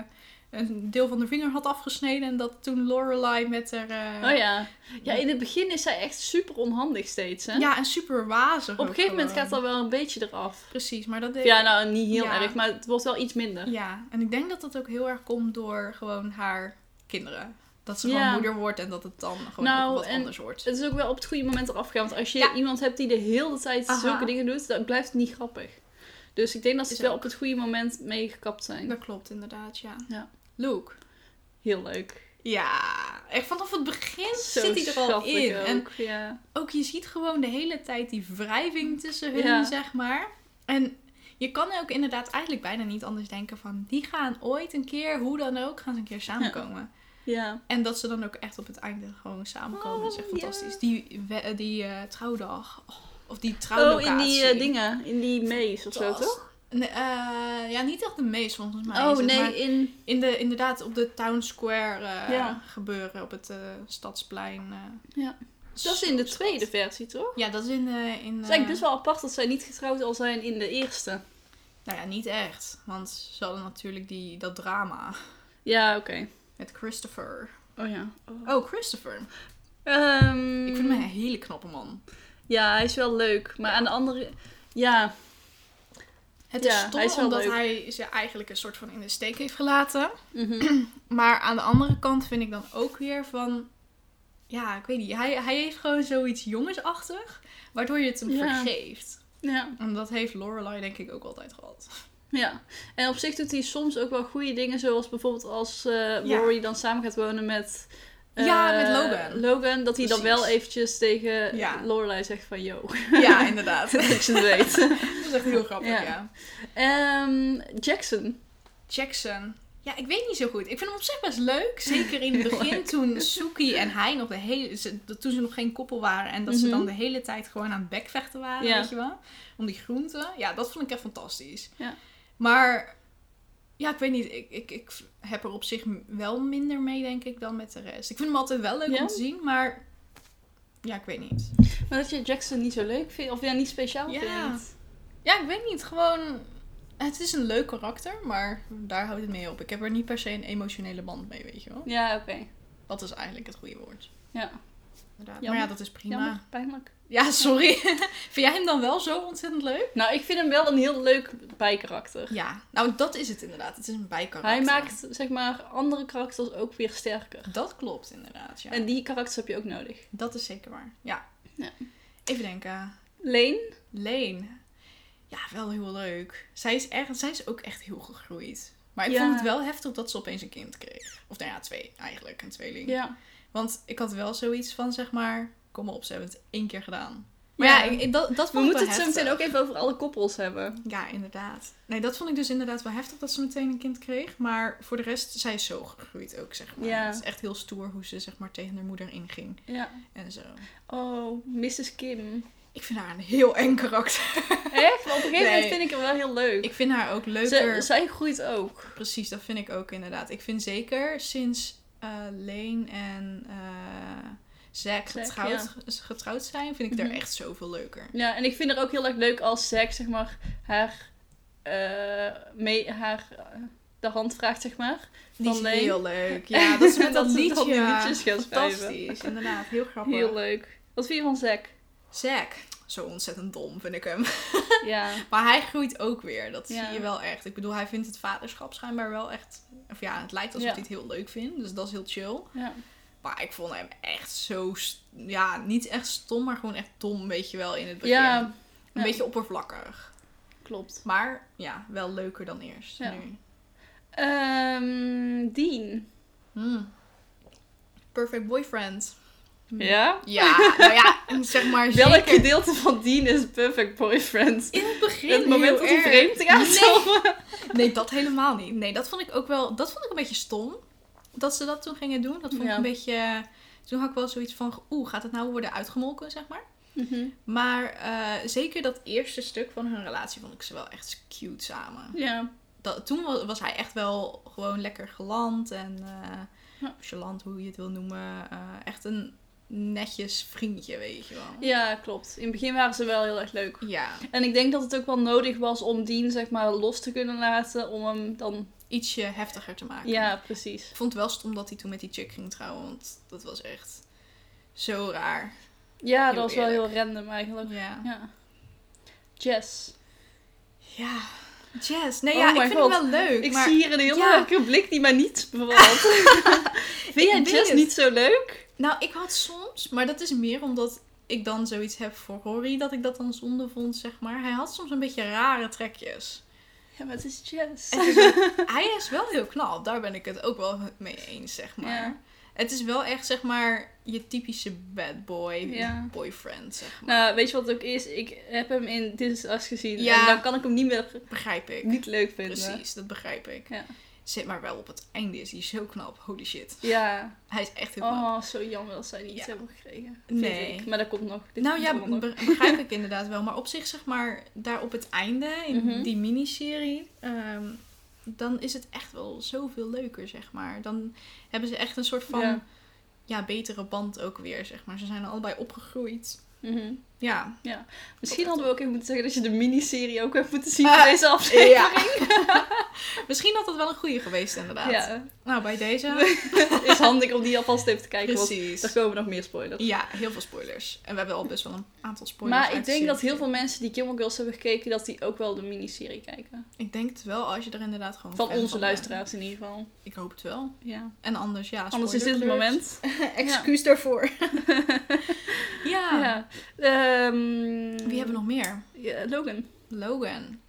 Speaker 1: een deel van de vinger had afgesneden. En dat toen Lorelai met haar... eh,
Speaker 2: Oh ja. Ja, in het begin is zij echt super onhandig steeds, hè?
Speaker 1: Ja, en super wazig
Speaker 2: Op een gegeven moment gaat
Speaker 1: dat...
Speaker 2: dat wel een beetje eraf.
Speaker 1: Precies, maar dat deed...
Speaker 2: Ja, nou, niet heel
Speaker 1: Ja.
Speaker 2: erg, maar het wordt wel iets minder.
Speaker 1: Ja, en ik denk dat dat ook heel erg komt door gewoon haar kinderen. Dat ze
Speaker 2: Ja.
Speaker 1: gewoon moeder wordt en dat het dan gewoon
Speaker 2: Nou,
Speaker 1: ook wat
Speaker 2: en-
Speaker 1: anders wordt.
Speaker 2: Het is ook wel op het goede moment eraf gegaan. Want als je
Speaker 1: Ja.
Speaker 2: iemand hebt die de hele tijd
Speaker 1: Aha.
Speaker 2: zulke dingen doet, dan blijft het niet grappig. Dus ik denk dat ze
Speaker 1: Is
Speaker 2: het wel
Speaker 1: ook.
Speaker 2: op het goede moment mee gekapt zijn.
Speaker 1: Dat klopt inderdaad, ja.
Speaker 2: Ja.
Speaker 1: Luke.
Speaker 2: Heel leuk.
Speaker 1: Ja, echt vanaf het begin
Speaker 2: Zo
Speaker 1: zit hij er al
Speaker 2: schattig
Speaker 1: in.
Speaker 2: Ook.
Speaker 1: En
Speaker 2: ja.
Speaker 1: ook je ziet gewoon de hele tijd die wrijving tussen hun,
Speaker 2: Ja.
Speaker 1: zeg maar. En je kan ook inderdaad eigenlijk bijna niet anders denken van... die gaan ooit een keer, hoe dan ook, gaan ze een keer samenkomen.
Speaker 2: ja.
Speaker 1: En dat ze dan ook echt op het einde gewoon samenkomen. dat is echt
Speaker 2: Oh, ja.
Speaker 1: fantastisch. Die, we- eh, die eh, trouwdag. Oh, of die
Speaker 2: Oh,
Speaker 1: trouwlocatie.
Speaker 2: in die eh, dingen. In die maze of zo,
Speaker 1: Dat was-
Speaker 2: toch?
Speaker 1: Nee, eh, ja, niet echt de meest volgens mij. is
Speaker 2: Oh,
Speaker 1: het,
Speaker 2: nee.
Speaker 1: maar
Speaker 2: In...
Speaker 1: in de, inderdaad, op de Town Square eh,
Speaker 2: Ja.
Speaker 1: gebeuren. Op het eh, stadsplein. eh.
Speaker 2: Ja. Dat is in de
Speaker 1: Zo
Speaker 2: tweede versie, toch?
Speaker 1: schattig. Ja, dat is in... eh, in
Speaker 2: Het
Speaker 1: eh,
Speaker 2: is eigenlijk dus best wel apart dat zij niet getrouwd al zijn in de eerste.
Speaker 1: Nou ja, niet echt. Want ze hadden natuurlijk die, dat drama
Speaker 2: Ja, oké.
Speaker 1: met Christopher.
Speaker 2: Oh ja.
Speaker 1: Oh, Christopher.
Speaker 2: Ehm,
Speaker 1: Ik vind hem een hele knappe man.
Speaker 2: Ja, hij is wel leuk. Maar
Speaker 1: Ja.
Speaker 2: aan de andere... Ja,
Speaker 1: Het
Speaker 2: Ja,
Speaker 1: is stom
Speaker 2: hij is wel
Speaker 1: omdat
Speaker 2: leuk.
Speaker 1: hij ze eigenlijk een soort van in de steek heeft gelaten.
Speaker 2: mhm.
Speaker 1: Maar aan de andere kant vind ik dan ook weer van... Ja, ik weet niet. Hij, hij heeft gewoon zoiets jongensachtig. Waardoor je het hem
Speaker 2: Ja.
Speaker 1: vergeeft.
Speaker 2: ja.
Speaker 1: En dat heeft Lorelai denk ik ook altijd gehad.
Speaker 2: Ja, en op zich doet hij soms ook wel goede dingen, zoals bijvoorbeeld als eh
Speaker 1: Ja.
Speaker 2: Rory dan samen gaat wonen met... eh,
Speaker 1: Ja, met Logan.
Speaker 2: Logan, dat hij dan
Speaker 1: Precies.
Speaker 2: wel eventjes tegen
Speaker 1: Ja.
Speaker 2: Lorelai zegt van, yo,
Speaker 1: Ja, [laughs] inderdaad.
Speaker 2: [laughs] dat ik ze het weet.
Speaker 1: dat is echt heel grappig, ja.
Speaker 2: Ja. Ehm, Jackson.
Speaker 1: Jackson. Ja, ik weet niet zo goed. Ik vind hem op zich best leuk. Zeker in
Speaker 2: [laughs]
Speaker 1: het
Speaker 2: Heel
Speaker 1: begin
Speaker 2: leuk.
Speaker 1: toen Suki en hij nog de hele... ze- dat- toen ze nog geen koppel waren. En dat ze
Speaker 2: Mhm.
Speaker 1: dan de hele tijd gewoon aan het bekvechten waren,
Speaker 2: Ja.
Speaker 1: weet je wel. Om die groenten. Ja, dat vond ik echt fantastisch.
Speaker 2: Ja.
Speaker 1: Maar... Ja, ik weet niet. Ik, ik, ik heb er op zich wel minder mee, denk ik, dan met de rest. Ik vind hem altijd wel leuk
Speaker 2: Ja?
Speaker 1: om te zien, maar... Ja, ik weet niet.
Speaker 2: Maar dat je Jackson niet zo leuk vindt, of ja, niet speciaal
Speaker 1: Ja.
Speaker 2: vindt.
Speaker 1: Ja, ik weet niet. Gewoon... Het is een leuk karakter, maar daar houdt het mee op. Ik heb er niet per se een emotionele band mee, weet je wel.
Speaker 2: Ja, oké.
Speaker 1: Dat is eigenlijk het goede woord.
Speaker 2: Ja,
Speaker 1: Inderdaad.
Speaker 2: Jammer.
Speaker 1: Maar ja, dat is prima.
Speaker 2: jammer, pijnlijk.
Speaker 1: Ja, [laughs] sorry. Vind jij hem dan wel zo ontzettend leuk?
Speaker 2: Nou, ik vind hem wel een heel leuk bijkarakter.
Speaker 1: Ja. Nou, dat is het inderdaad. Het is een bijkarakter.
Speaker 2: Hij maakt, zeg maar, andere karakters ook weer sterker.
Speaker 1: Dat klopt inderdaad, ja.
Speaker 2: En die karakters heb je ook nodig.
Speaker 1: Dat is zeker waar. Ja.
Speaker 2: Ja.
Speaker 1: Even denken.
Speaker 2: Lane?
Speaker 1: Leen. Ja, wel heel leuk. Zij is, echt, zij is ook echt heel gegroeid. Maar ik
Speaker 2: Ja.
Speaker 1: vond het wel heftig dat ze opeens een kind kreeg. Of nou ja, twee eigenlijk. Een tweeling.
Speaker 2: Ja.
Speaker 1: Want ik had wel zoiets van, zeg maar... Kom op, ze hebben het één keer gedaan. Maar ja,
Speaker 2: Ja.
Speaker 1: ik- ik- dat, dat
Speaker 2: We
Speaker 1: vond ik wel
Speaker 2: moeten het zo
Speaker 1: heftig.
Speaker 2: meteen ook even over alle koppels hebben.
Speaker 1: Ja, inderdaad. Nee, dat vond ik dus inderdaad wel heftig dat ze meteen een kind kreeg. Maar voor de rest, zij is zo gegroeid ook, zeg maar.
Speaker 2: Ja.
Speaker 1: Het is echt heel stoer hoe ze zeg maar tegen haar moeder inging
Speaker 2: Ja.
Speaker 1: en zo.
Speaker 2: Oh, Mrs. Kim.
Speaker 1: Ik vind haar een heel eng karakter.
Speaker 2: Echt? Maar op een gegeven moment
Speaker 1: Nee.
Speaker 2: vind ik hem wel heel leuk.
Speaker 1: Ik vind haar ook
Speaker 2: Ze,
Speaker 1: leuker.
Speaker 2: zij groeit ook.
Speaker 1: Precies, dat vind ik ook inderdaad. Ik vind zeker sinds eh Leen en eh Zack
Speaker 2: Zack,
Speaker 1: getrouwd, getrouwd zijn, vind ik haar
Speaker 2: Mhm.
Speaker 1: echt zoveel leuker.
Speaker 2: Ja, en ik vind haar ook heel erg leuk als Zack, zeg maar, haar, eh, mee, haar eh, de hand vraagt, zeg maar.
Speaker 1: Die is
Speaker 2: Van Leen.
Speaker 1: heel leuk. Ja,
Speaker 2: [laughs]
Speaker 1: dat is met dat,
Speaker 2: Dat ze
Speaker 1: liedje.
Speaker 2: dan liedjes gaan schrijven.
Speaker 1: Fantastisch, inderdaad. Heel grappig.
Speaker 2: Heel leuk. Wat vind je van [laughs] Zack?
Speaker 1: Zack, zo ontzettend dom vind ik hem. [laughs]
Speaker 2: Ja.
Speaker 1: Maar hij groeit ook weer. Dat
Speaker 2: Ja.
Speaker 1: zie je wel echt. Ik bedoel, hij vindt het vaderschap schijnbaar wel echt. Of ja, het lijkt alsof
Speaker 2: Ja.
Speaker 1: hij het heel leuk vindt. Dus dat is heel chill.
Speaker 2: ja.
Speaker 1: Maar ik vond hem echt zo. st- Ja, niet echt stom, maar gewoon echt dom, weet je wel, in het begin.
Speaker 2: Ja,
Speaker 1: Een
Speaker 2: Ja.
Speaker 1: beetje oppervlakkig.
Speaker 2: klopt.
Speaker 1: Maar ja, wel leuker dan eerst.
Speaker 2: Ja.
Speaker 1: Nu.
Speaker 2: Ehm, Dean.
Speaker 1: Hmm. Perfect
Speaker 2: [laughs]
Speaker 1: boyfriend.
Speaker 2: Ja?
Speaker 1: Ja, nou ja, zeg maar
Speaker 2: Welk
Speaker 1: zeker.
Speaker 2: gedeelte van Dean is perfect boyfriend?
Speaker 1: In het begin
Speaker 2: Het
Speaker 1: heel
Speaker 2: moment dat hij
Speaker 1: erg.
Speaker 2: vreemd gaat
Speaker 1: Nee,
Speaker 2: zo.
Speaker 1: [laughs] nee, dat helemaal niet. Nee, dat vond ik ook wel... Dat vond ik een beetje stom. Dat ze dat toen gingen doen. Dat vond
Speaker 2: Ja.
Speaker 1: ik een beetje... Toen had ik wel zoiets van... Oeh, gaat het nou worden uitgemolken, zeg maar?
Speaker 2: Mhm.
Speaker 1: Maar eh, zeker dat eerste stuk van hun relatie vond ik ze wel echt cute samen.
Speaker 2: Ja.
Speaker 1: dat, toen was, was hij echt wel gewoon lekker geland en eh
Speaker 2: Ja.
Speaker 1: chalant, hoe je het wil noemen. Eh, echt een netjes vriendje, weet je wel.
Speaker 2: ja, klopt. In het begin waren ze wel heel erg leuk.
Speaker 1: Ja,
Speaker 2: En ik denk dat het ook wel nodig was om Dean zeg maar los te kunnen laten. Om hem dan...
Speaker 1: ietsje heftiger te maken.
Speaker 2: Ja, precies.
Speaker 1: Ik vond het wel stom dat hij toen met die chick ging trouwen, want dat was echt zo raar.
Speaker 2: Ja,
Speaker 1: Heel
Speaker 2: dat was wel
Speaker 1: eerlijk.
Speaker 2: heel random eigenlijk.
Speaker 1: Ja.
Speaker 2: Ja. Jess.
Speaker 1: Ja, Jess. Nee,
Speaker 2: Oh
Speaker 1: ja, ik
Speaker 2: my
Speaker 1: vind
Speaker 2: God.
Speaker 1: hem wel leuk.
Speaker 2: Ik
Speaker 1: maar...
Speaker 2: zie hier een heel
Speaker 1: ja.
Speaker 2: leuke blik die mij niet
Speaker 1: [laughs]
Speaker 2: bevalt. Vind jij
Speaker 1: weet
Speaker 2: Jess
Speaker 1: het.
Speaker 2: niet zo leuk?
Speaker 1: Nou, ik had soms, maar dat is meer omdat ik dan zoiets heb voor Rory, dat ik dat dan zonde vond, zeg maar. Hij had soms een beetje rare trekjes.
Speaker 2: Ja, maar het is Jess.
Speaker 1: Het is
Speaker 2: [laughs]
Speaker 1: wel- hij is wel heel knap, daar ben ik het ook wel mee eens, zeg maar.
Speaker 2: Ja.
Speaker 1: Het is wel echt, zeg maar, je typische bad boy,
Speaker 2: Ja.
Speaker 1: boyfriend, zeg maar.
Speaker 2: Nou, weet je wat het ook is? Ik heb hem in This Is Us gezien.
Speaker 1: Ja.
Speaker 2: En dan kan ik hem niet meer
Speaker 1: Begrijp ik.
Speaker 2: Nou, niet leuk vinden.
Speaker 1: Precies, dat begrijp ik.
Speaker 2: Ja.
Speaker 1: Zit maar wel op het einde, is hij zo knap, holy shit.
Speaker 2: Ja.
Speaker 1: Hij is echt heel knap.
Speaker 2: Oh, zo jammer dat zij die iets
Speaker 1: Ja.
Speaker 2: hebben gekregen. Vind
Speaker 1: Nee.
Speaker 2: ik. Maar dat komt nog. Dit
Speaker 1: Nou
Speaker 2: komt
Speaker 1: ja,
Speaker 2: allemaal nog.
Speaker 1: be- begrijp ik inderdaad wel. Maar op zich, zeg maar, daar op het einde, in
Speaker 2: Mhm.
Speaker 1: die miniserie, ehm, dan is het echt wel zoveel leuker, zeg maar. Dan hebben ze echt een soort van,
Speaker 2: Ja.
Speaker 1: ja, betere band ook weer, zeg maar. Ze zijn allebei opgegroeid.
Speaker 2: Mhm.
Speaker 1: Ja.
Speaker 2: Misschien hadden we ook even moeten zeggen dat je de miniserie ook hebt moeten zien
Speaker 1: Ah,
Speaker 2: voor deze aflevering.
Speaker 1: [laughs] Misschien had dat wel een goede geweest, inderdaad.
Speaker 2: Ja.
Speaker 1: Nou, bij
Speaker 2: [laughs]
Speaker 1: deze.
Speaker 2: is handig om die alvast even te kijken. Want er
Speaker 1: Precies.
Speaker 2: komen nog meer spoilers.
Speaker 1: Ja, heel veel spoilers. En we hebben al best wel een aantal spoilers.
Speaker 2: Maar ik
Speaker 1: uit de
Speaker 2: denk dat
Speaker 1: serie.
Speaker 2: heel veel mensen die Gilmore Girls hebben gekeken, dat die ook wel de miniserie kijken.
Speaker 1: Ik denk het wel, als je er inderdaad gewoon.
Speaker 2: Van
Speaker 1: fan
Speaker 2: onze
Speaker 1: bent.
Speaker 2: luisteraars in ieder geval.
Speaker 1: Ik hoop het wel.
Speaker 2: Ja.
Speaker 1: En anders, ja.
Speaker 2: Anders is dit het
Speaker 1: spoiler alert.
Speaker 2: moment.
Speaker 1: [laughs] Excuus daarvoor. [laughs] ja.
Speaker 2: [laughs] Ja. Ehm,
Speaker 1: Wie hebben we nog meer?
Speaker 2: Ja, Logan.
Speaker 1: Logan.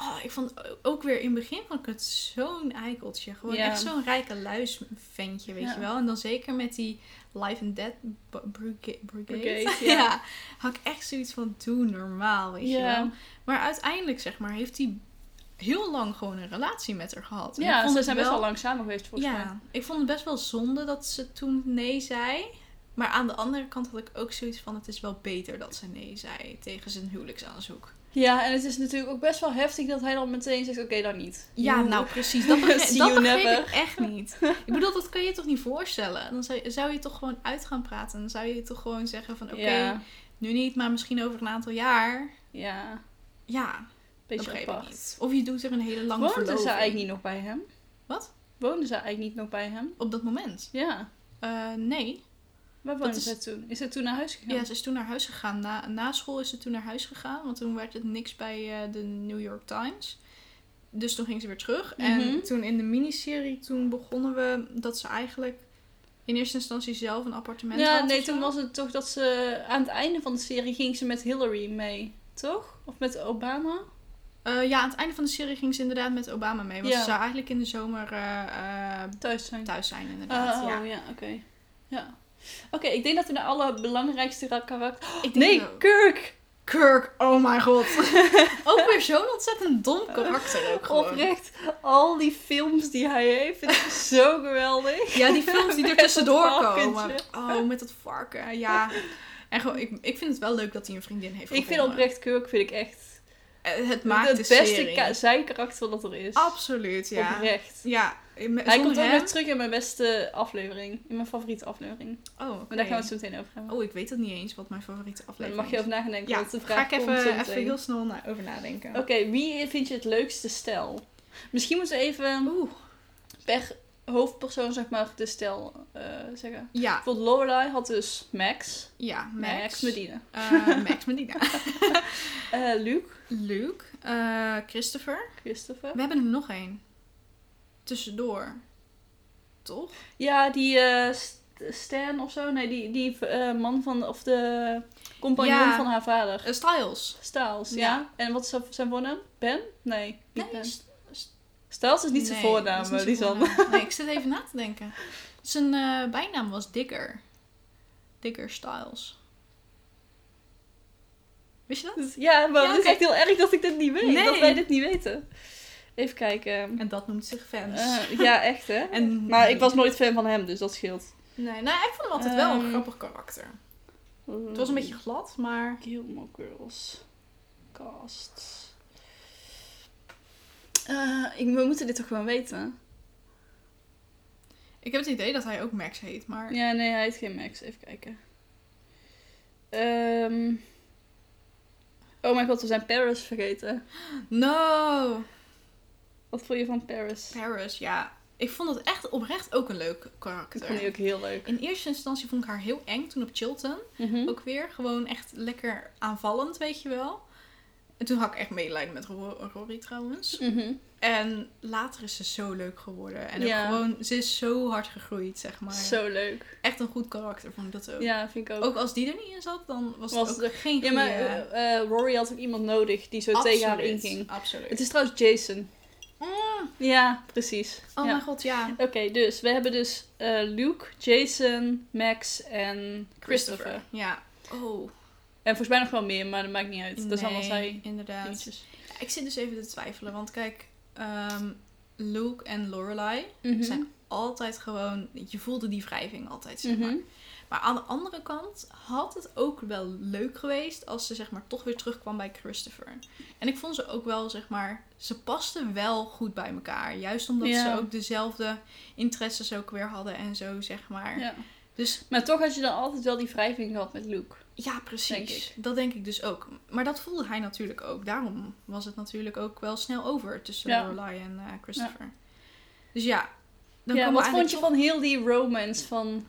Speaker 1: Oh, ik vond ook weer in het begin vond ik het zo'n eikeltje. Gewoon
Speaker 2: Ja.
Speaker 1: echt zo'n rijke luisventje, weet
Speaker 2: Ja.
Speaker 1: je wel. En dan zeker met die Life and Death bu- Brigade. brigade. [laughs]
Speaker 2: Brigade, ja.
Speaker 1: ja. Had ik echt zoiets van, doe normaal, weet je wel. Maar uiteindelijk, zeg maar, heeft hij heel lang gewoon een relatie met haar gehad. En ik
Speaker 2: ja
Speaker 1: vond
Speaker 2: ze
Speaker 1: het
Speaker 2: zijn best wel lang samen geweest volgens mij.
Speaker 1: Ja, ik vond het best wel zonde dat ze toen nee zei. Maar aan de andere kant had ik ook zoiets van, het is wel beter dat ze nee zei tegen zijn huwelijksaanzoek.
Speaker 2: Ja, en het is natuurlijk ook best wel heftig dat hij dan meteen zegt, oké, dan niet.
Speaker 1: Ja,
Speaker 2: Joe.
Speaker 1: nou precies. Dat begreep,
Speaker 2: [laughs] See
Speaker 1: dat
Speaker 2: you
Speaker 1: begreep
Speaker 2: never.
Speaker 1: ik echt
Speaker 2: [laughs]
Speaker 1: niet. Ik bedoel, dat kan je toch niet voorstellen? Dan zou, zou je toch gewoon uit gaan praten. Dan zou je toch gewoon zeggen van, oké,
Speaker 2: Ja,
Speaker 1: nu niet, maar misschien over een aantal jaar.
Speaker 2: ja.
Speaker 1: Ja, dat
Speaker 2: Beetje
Speaker 1: begreep ik
Speaker 2: apart.
Speaker 1: niet. Of je doet er een hele lange
Speaker 2: Woonde
Speaker 1: verloving.
Speaker 2: ze eigenlijk niet nog bij hem?
Speaker 1: Wat?
Speaker 2: Woonde ze eigenlijk niet nog bij hem?
Speaker 1: Op dat moment?
Speaker 2: Ja.
Speaker 1: Eh, nee.
Speaker 2: Waar woonde
Speaker 1: is-
Speaker 2: ze toen? Is ze toen naar huis gegaan?
Speaker 1: Ja. ze is toen naar huis gegaan. Na, na school is ze toen naar huis gegaan. Want toen werd het niks bij eh, de New York Times. Dus toen ging ze weer terug.
Speaker 2: Mhm.
Speaker 1: En toen in de miniserie, toen begonnen we dat ze eigenlijk... In eerste instantie zelf een appartement had.
Speaker 2: Ja,
Speaker 1: of
Speaker 2: nee,
Speaker 1: zo.
Speaker 2: toen was het toch dat ze aan het einde van de serie ging ze met Hillary mee, toch? Of met Obama?
Speaker 1: Eh, ja, aan het einde van de serie ging ze inderdaad met Obama mee. Want
Speaker 2: Ja.
Speaker 1: ze zou eigenlijk in de zomer eh, eh,
Speaker 2: Thuis zijn.
Speaker 1: thuis zijn, inderdaad.
Speaker 2: Oh, ja,
Speaker 1: ja.
Speaker 2: oké. Ja. Oké, ik denk dat we de allerbelangrijkste ra- karakter...
Speaker 1: Ik denk
Speaker 2: oh. Nee,
Speaker 1: dat-
Speaker 2: Kirk!
Speaker 1: Kirk, oh mijn
Speaker 2: [laughs]
Speaker 1: god. ook weer zo'n ontzettend dom karakter ook gewoon.
Speaker 2: Oprecht, al die films die hij heeft, vind ik
Speaker 1: [laughs]
Speaker 2: zo geweldig.
Speaker 1: Ja, die films die er
Speaker 2: [laughs] Met
Speaker 1: tussendoor
Speaker 2: dat
Speaker 1: komen.
Speaker 2: varkentje.
Speaker 1: Oh, met dat varken, ja. En gewoon, ik, ik vind het wel leuk dat hij een vriendin heeft
Speaker 2: Ik vind
Speaker 1: gevonden.
Speaker 2: oprecht Kirk, vind ik echt
Speaker 1: Eh, Het maakt
Speaker 2: het
Speaker 1: de
Speaker 2: beste
Speaker 1: serie.
Speaker 2: ka- zijkarakter dat er is.
Speaker 1: Absoluut, ja.
Speaker 2: Oprecht.
Speaker 1: Ja, eh, me-
Speaker 2: Hij
Speaker 1: zonder
Speaker 2: komt ook
Speaker 1: hem-
Speaker 2: nog terug in mijn beste aflevering. In mijn favoriete aflevering.
Speaker 1: Oh, oké.
Speaker 2: Maar daar gaan we het zo meteen over hebben.
Speaker 1: Oh, ik weet het niet eens wat mijn favoriete
Speaker 2: Daar
Speaker 1: aflevering
Speaker 2: mag je
Speaker 1: is.
Speaker 2: over nadenken,
Speaker 1: Ja,
Speaker 2: want de
Speaker 1: ga
Speaker 2: vraag
Speaker 1: ik even,
Speaker 2: komt zo
Speaker 1: even
Speaker 2: meteen.
Speaker 1: heel snel na- over nadenken.
Speaker 2: Oké, wie vind je het leukste stijl? Misschien moeten we even
Speaker 1: Oeh.
Speaker 2: per hoofdpersoon, zeg maar, de stijl eh, zeggen.
Speaker 1: Ja,
Speaker 2: Bijvoorbeeld Lorelai had dus Max.
Speaker 1: ja,
Speaker 2: Max,
Speaker 1: Max.
Speaker 2: Medina.
Speaker 1: Eh, Max Medina.
Speaker 2: [laughs] Eh, Luke,
Speaker 1: Luke. eh, Christopher.
Speaker 2: Christopher.
Speaker 1: We hebben er nog één. Tussendoor. Toch?
Speaker 2: Ja, die eh, St- Stan of zo. Nee, die, die eh, man van, of de compagnon
Speaker 1: Ja.
Speaker 2: van haar vader.
Speaker 1: Eh, Styles.
Speaker 2: Styles, ja.
Speaker 1: Ja.
Speaker 2: En wat is zijn voornaam? Ben? Nee, niet
Speaker 1: Nee,
Speaker 2: Ben.
Speaker 1: S- S-
Speaker 2: Stels is niet zijn
Speaker 1: Nee,
Speaker 2: voornaam,
Speaker 1: dat is niet zijn
Speaker 2: Lisanne.
Speaker 1: voornaam. Nee, ik zit even na te denken. Zijn eh, bijnaam was Digger. Digger Styles. Wist je dat?
Speaker 2: [laughs] Dus ja, maar
Speaker 1: Ja,
Speaker 2: het
Speaker 1: oké.
Speaker 2: is echt heel erg dat ik dit niet weet.
Speaker 1: Nee.
Speaker 2: Dat wij dit niet weten. Even kijken.
Speaker 1: En dat noemt zich fans. [laughs]
Speaker 2: Eh, ja, echt hè.
Speaker 1: en,
Speaker 2: Maar ik was nooit fan van hem, dus dat scheelt.
Speaker 1: Nee, nou, ik vond hem altijd wel een
Speaker 2: Ehm.
Speaker 1: grappig karakter. Het was een beetje glad, maar...
Speaker 2: Gilmore Girls. Cast. Eh, ik, we moeten dit toch gewoon weten?
Speaker 1: Ik heb het idee dat hij ook Max heet, maar...
Speaker 2: Ja, nee, hij heet geen Max. Even kijken. Ehm, Oh mijn god, we zijn Paris vergeten.
Speaker 1: No!
Speaker 2: Wat vond je van Paris?
Speaker 1: Paris, ja. Ik vond het echt oprecht ook een leuk
Speaker 2: Ik
Speaker 1: karakter.
Speaker 2: vond die ook heel leuk.
Speaker 1: In eerste instantie vond ik haar heel eng toen op Chilton.
Speaker 2: Mhm.
Speaker 1: Ook weer gewoon echt lekker aanvallend, weet je wel. En toen had ik echt medelijden met Ro- Rory trouwens.
Speaker 2: Mhm.
Speaker 1: En later is ze zo leuk geworden. En ook
Speaker 2: Ja.
Speaker 1: gewoon, ze is zo hard gegroeid, zeg maar.
Speaker 2: Zo leuk.
Speaker 1: Echt een goed karakter, vond ik dat ook.
Speaker 2: Ja, vind ik ook.
Speaker 1: Ook als die er niet in zat, dan was,
Speaker 2: Was
Speaker 1: het ook
Speaker 2: het
Speaker 1: geen
Speaker 2: ja,
Speaker 1: goede...
Speaker 2: maar eh, eh, Rory had ook iemand nodig die zo tegen haar
Speaker 1: Absoluut,
Speaker 2: inging.
Speaker 1: Absoluut.
Speaker 2: Het is trouwens Jason.
Speaker 1: Mm.
Speaker 2: Ja, precies.
Speaker 1: Oh
Speaker 2: ja.
Speaker 1: mijn god, ja.
Speaker 2: Oké, dus we hebben dus eh, Luke, Jason, Max en Christopher.
Speaker 1: Ja. Oh.
Speaker 2: En volgens mij nog wel meer, maar dat maakt niet uit. Dat is allemaal
Speaker 1: Nee,
Speaker 2: zij
Speaker 1: Inderdaad.
Speaker 2: dingetjes.
Speaker 1: Ja, ik zit dus even te twijfelen, want kijk, ehm, Luke en Lorelai
Speaker 2: Mhm.
Speaker 1: zijn altijd gewoon, je voelde die wrijving altijd, zeg
Speaker 2: Mhm.
Speaker 1: maar. Maar aan de andere kant had het ook wel leuk geweest als ze zeg maar toch weer terugkwam bij Christopher. En ik vond ze ook wel zeg maar, ze pasten wel goed bij elkaar. Juist omdat
Speaker 2: Ja.
Speaker 1: ze ook dezelfde interesses ook weer hadden en zo zeg maar.
Speaker 2: Ja.
Speaker 1: Dus
Speaker 2: Maar toch had je dan altijd wel die wrijving gehad met Luke.
Speaker 1: ja, precies.
Speaker 2: Denk ik.
Speaker 1: Dat denk ik dus ook. Maar dat voelde hij natuurlijk ook. Daarom was het natuurlijk ook wel snel over tussen
Speaker 2: Ja.
Speaker 1: Lorelai en eh, Christopher. Dus ja. Dan
Speaker 2: ja,
Speaker 1: komen
Speaker 2: wat
Speaker 1: we
Speaker 2: vond je
Speaker 1: eigenlijk
Speaker 2: van heel die romance van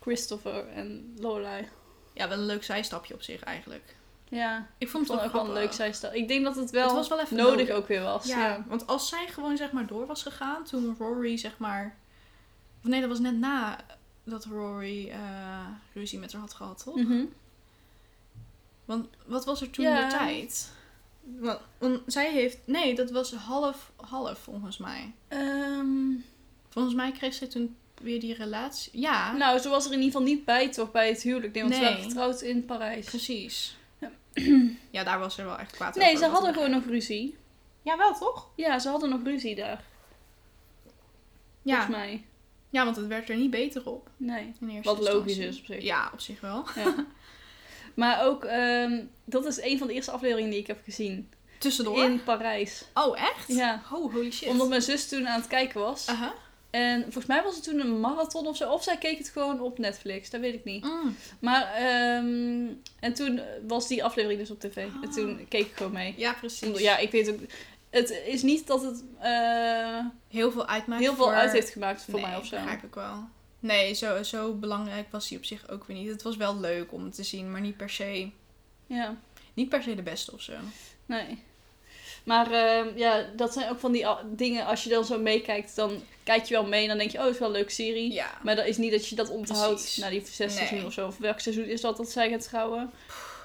Speaker 2: Christopher en Lorelai?
Speaker 1: toch- Ja, wel een leuk zijstapje op zich eigenlijk.
Speaker 2: Ja,
Speaker 1: Ik vond
Speaker 2: ik vond
Speaker 1: het
Speaker 2: ook wel een leuk
Speaker 1: grappig.
Speaker 2: zijstel. Ik denk dat het wel,
Speaker 1: Het was wel even
Speaker 2: nodig,
Speaker 1: nodig.
Speaker 2: ook weer was.
Speaker 1: Ja, want als zij gewoon zeg maar door was gegaan toen Rory zeg maar... Of nee, dat was net na dat Rory eh, ruzie met haar had gehad, toch?
Speaker 2: Mhm.
Speaker 1: Want wat was er toen
Speaker 2: Ja.
Speaker 1: de tijd? Want, want zij heeft... Nee, dat was half-half volgens mij.
Speaker 2: Ehm,
Speaker 1: Volgens mij kreeg zij toen weer die relatie. Ja,
Speaker 2: Nou, ze was er in ieder geval niet bij toch bij het huwelijk. Nee, want ze
Speaker 1: Nee.
Speaker 2: waren getrouwd in Parijs.
Speaker 1: precies. Ja, daar was ze wel echt kwaad
Speaker 2: Nee,
Speaker 1: over.
Speaker 2: ze hadden gewoon nog ruzie.
Speaker 1: Ja, wel toch?
Speaker 2: Ja, ze hadden nog ruzie daar.
Speaker 1: Ja.
Speaker 2: Volgens mij.
Speaker 1: ja, want het werd er niet beter op.
Speaker 2: Nee.
Speaker 1: In eerste
Speaker 2: Wat logisch
Speaker 1: instantie.
Speaker 2: is op zich.
Speaker 1: Ja, op zich wel.
Speaker 2: Ja.
Speaker 1: [laughs]
Speaker 2: Maar ook, ehm, dat is een van de eerste afleveringen die ik heb gezien.
Speaker 1: Tussendoor.
Speaker 2: In Parijs.
Speaker 1: Oh, echt?
Speaker 2: Ja.
Speaker 1: Oh, holy shit. Ah.
Speaker 2: Omdat mijn zus toen aan het kijken was.
Speaker 1: Aha.
Speaker 2: En volgens mij was het toen een marathon of zo. Of zij keek het gewoon op Netflix. Dat weet ik niet.
Speaker 1: Mm.
Speaker 2: Maar, ehm, en toen was die aflevering dus op tv. En
Speaker 1: Ah.
Speaker 2: toen keek ik gewoon mee.
Speaker 1: Ja, precies.
Speaker 2: Ja, ik weet ook... Het is niet dat het eh,
Speaker 1: Heel veel uitmaakt
Speaker 2: heel veel
Speaker 1: voor-
Speaker 2: uit heeft gemaakt voor mij
Speaker 1: Nee,
Speaker 2: of zo.
Speaker 1: begrijp ik wel. Nee, zo, zo belangrijk was hij op zich ook weer niet. Het was wel leuk om te zien, maar niet per se,
Speaker 2: Ja,
Speaker 1: niet per se de beste of zo.
Speaker 2: nee. Maar ehm, ja, dat zijn ook van die a- dingen. Als je dan zo meekijkt, dan kijk je wel mee. En dan denk je, oh, het is wel een leuke serie.
Speaker 1: Ja.
Speaker 2: Maar dat is niet dat je dat onthoudt
Speaker 1: Precies.
Speaker 2: na die zes
Speaker 1: Nee.
Speaker 2: seizoen of zo. Of welk seizoen is dat dat zij gaat trouwen?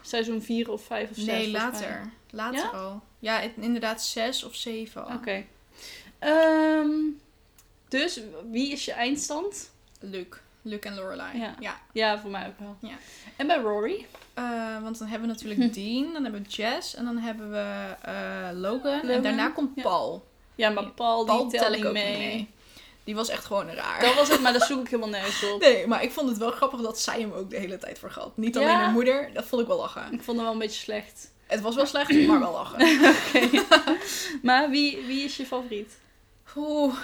Speaker 2: Seizoen vier of vijf of zes?
Speaker 1: Nee,
Speaker 2: volgens mij.
Speaker 1: later. Later al. Ja, het- inderdaad zes of zeven al.
Speaker 2: Oké. Ehm, dus, wie is je eindstand?
Speaker 1: Luke. Luke en Lorelai.
Speaker 2: Ja. Ja, voor mij ook wel.
Speaker 1: Ja.
Speaker 2: En bij Rory?
Speaker 1: Eh, want dan hebben we
Speaker 2: [laughs]
Speaker 1: natuurlijk Dean, dan hebben we Jess en dan hebben we eh, Logan. En
Speaker 2: Logan,
Speaker 1: daarna komt
Speaker 2: ja.
Speaker 1: Paul.
Speaker 2: Ja, maar Paul,
Speaker 1: Paul
Speaker 2: die
Speaker 1: tel
Speaker 2: telt
Speaker 1: ik
Speaker 2: niet
Speaker 1: ook
Speaker 2: mee.
Speaker 1: niet mee. Die was echt gewoon raar.
Speaker 2: Dat was het, maar daar zoek ik helemaal
Speaker 1: [laughs]
Speaker 2: nergens op.
Speaker 1: Nee, maar ik vond het wel grappig dat zij hem ook de hele tijd vergat. Niet alleen
Speaker 2: Ja.
Speaker 1: haar moeder, dat vond ik wel lachen.
Speaker 2: Ik vond hem wel een beetje slecht.
Speaker 1: Het was wel slecht, maar wel lachen.
Speaker 2: Maar wie, wie is je favoriet?
Speaker 1: Oeh.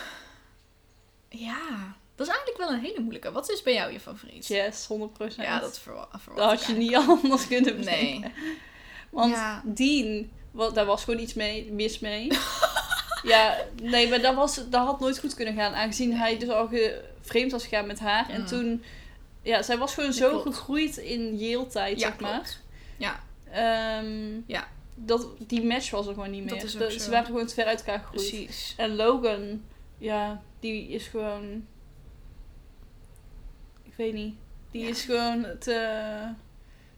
Speaker 1: Ja, dat is eigenlijk wel een hele moeilijke. Wat is bij jou je favoriet?
Speaker 2: Jess, 100%.
Speaker 1: Ja, dat verwa- verwacht
Speaker 2: Dat had
Speaker 1: ik
Speaker 2: je
Speaker 1: eigenlijk.
Speaker 2: niet [laughs] anders kunnen bedenken.
Speaker 1: Nee.
Speaker 2: Want
Speaker 1: Ja.
Speaker 2: Dean, wat, daar was gewoon iets mee,
Speaker 1: [laughs]
Speaker 2: mis mee. ja, nee, maar dat, was, dat had nooit goed kunnen gaan. Aangezien hij dus al ge- vreemd was gegaan met haar. En
Speaker 1: Mm.
Speaker 2: toen... Ja, zij was gewoon
Speaker 1: Dat
Speaker 2: zo
Speaker 1: klopt.
Speaker 2: gegroeid in Yale-tijd,
Speaker 1: Ja,
Speaker 2: zeg maar.
Speaker 1: klopt. Ja,
Speaker 2: Ehm,
Speaker 1: Ja.
Speaker 2: Dat, die match was er gewoon niet meer.
Speaker 1: Dat is ook
Speaker 2: Dat-
Speaker 1: zo.
Speaker 2: Ze waren gewoon te ver uit elkaar gegroeid.
Speaker 1: precies.
Speaker 2: En Logan, ja, die is gewoon. Ik weet niet. Die
Speaker 1: Ja.
Speaker 2: is gewoon te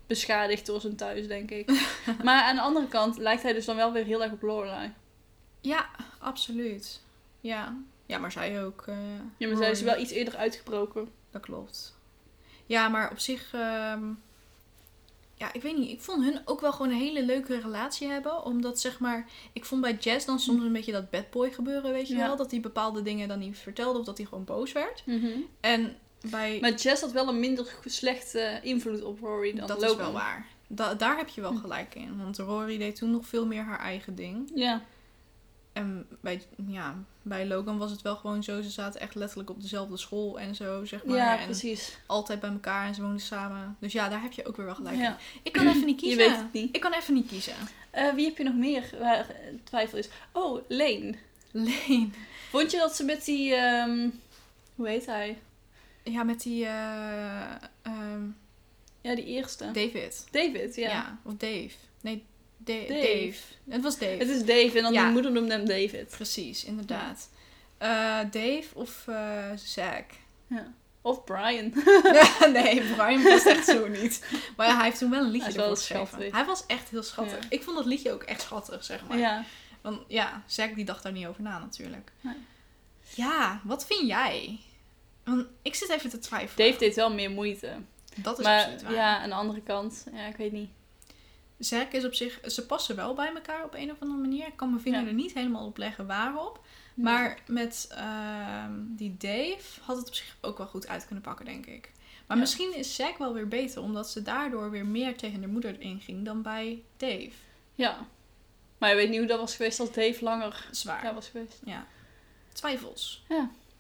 Speaker 2: beschadigd door zijn thuis,
Speaker 1: [laughs]
Speaker 2: denk ik. maar aan de andere kant lijkt hij dus dan wel weer heel erg op Lorelai.
Speaker 1: Ja, absoluut. Ja. Ja, maar zij ook. eh,
Speaker 2: Ja, maar zij is
Speaker 1: Rory.
Speaker 2: wel iets eerder uitgebroken.
Speaker 1: Dat klopt. Ja, maar op zich... ehm, ja, ik weet niet. Ik vond hun ook wel gewoon een hele leuke relatie hebben. Omdat, zeg maar... Ik vond bij Jazz dan soms een beetje dat bad boy gebeuren, weet je
Speaker 2: Ja.
Speaker 1: wel. Dat hij bepaalde dingen dan niet vertelde of dat hij gewoon boos werd. En bij...
Speaker 2: Maar Jess had wel een minder go- slechte invloed op Rory dan Hm.
Speaker 1: dat is
Speaker 2: Logan.
Speaker 1: wel waar. Da- daar heb je wel gelijk in. Want Rory deed toen nog veel meer haar eigen ding.
Speaker 2: Ja.
Speaker 1: En bij, ja, bij Logan was het wel gewoon zo. Ze zaten echt letterlijk op dezelfde school en zo, zeg maar.
Speaker 2: ja,
Speaker 1: en
Speaker 2: precies.
Speaker 1: altijd bij elkaar en ze woonden samen. Dus ja, daar heb je ook weer wel gelijk in.
Speaker 2: Ja.
Speaker 1: Ik [clears throat] kan even niet
Speaker 2: Je
Speaker 1: kiezen.
Speaker 2: weet het niet.
Speaker 1: Ik kan even niet kiezen.
Speaker 2: Eh, wie heb je nog meer waar eh, twijfel is? Oh, Lane.
Speaker 1: Leen.
Speaker 2: Vond je dat ze met die... ehm, hoe heet hij?
Speaker 1: Ja, met die eh, ehm,
Speaker 2: Ja, die eerste.
Speaker 1: David.
Speaker 2: David, ja.
Speaker 1: Ja. Of Dave. Nee, Da- Dave.
Speaker 2: Dave.
Speaker 1: Het was Dave.
Speaker 2: Het is Dave en dan
Speaker 1: Ja.
Speaker 2: die moeder noemde hem David.
Speaker 1: Precies, inderdaad. Eh, Dave of eh Zack?
Speaker 2: Ja. Of Brian.
Speaker 1: [laughs] nee, Brian was echt zo niet. Maar ja, hij heeft toen wel een liedje
Speaker 2: Hij is wel
Speaker 1: ervoor geschreven.
Speaker 2: schattig.
Speaker 1: Hij was echt heel schattig.
Speaker 2: Ja.
Speaker 1: Ik vond dat liedje ook echt schattig, zeg maar.
Speaker 2: [laughs] ja.
Speaker 1: Want ja, Zack die dacht daar niet over na natuurlijk.
Speaker 2: Nee.
Speaker 1: Ja, wat vind jij? Want ik zit even te twijfelen.
Speaker 2: Dave deed wel meer moeite.
Speaker 1: dat is absoluut
Speaker 2: maar
Speaker 1: waar.
Speaker 2: ja, aan de andere kant, ja, ik weet niet.
Speaker 1: Zack is op zich... Ze passen wel bij elkaar op een of andere manier. Ik kan mijn vinger
Speaker 2: Ja.
Speaker 1: er niet helemaal op leggen waarop. Maar met ehm, die Dave had het op zich ook wel goed uit kunnen pakken, denk ik. Maar
Speaker 2: Ja.
Speaker 1: misschien is Zack wel weer beter, omdat ze daardoor weer meer tegen haar moeder inging dan bij Dave.
Speaker 2: Ja. Maar je weet niet hoe dat was geweest als Dave langer
Speaker 1: Zwaar.
Speaker 2: daar
Speaker 1: Ja.
Speaker 2: was geweest.
Speaker 1: Twijfels.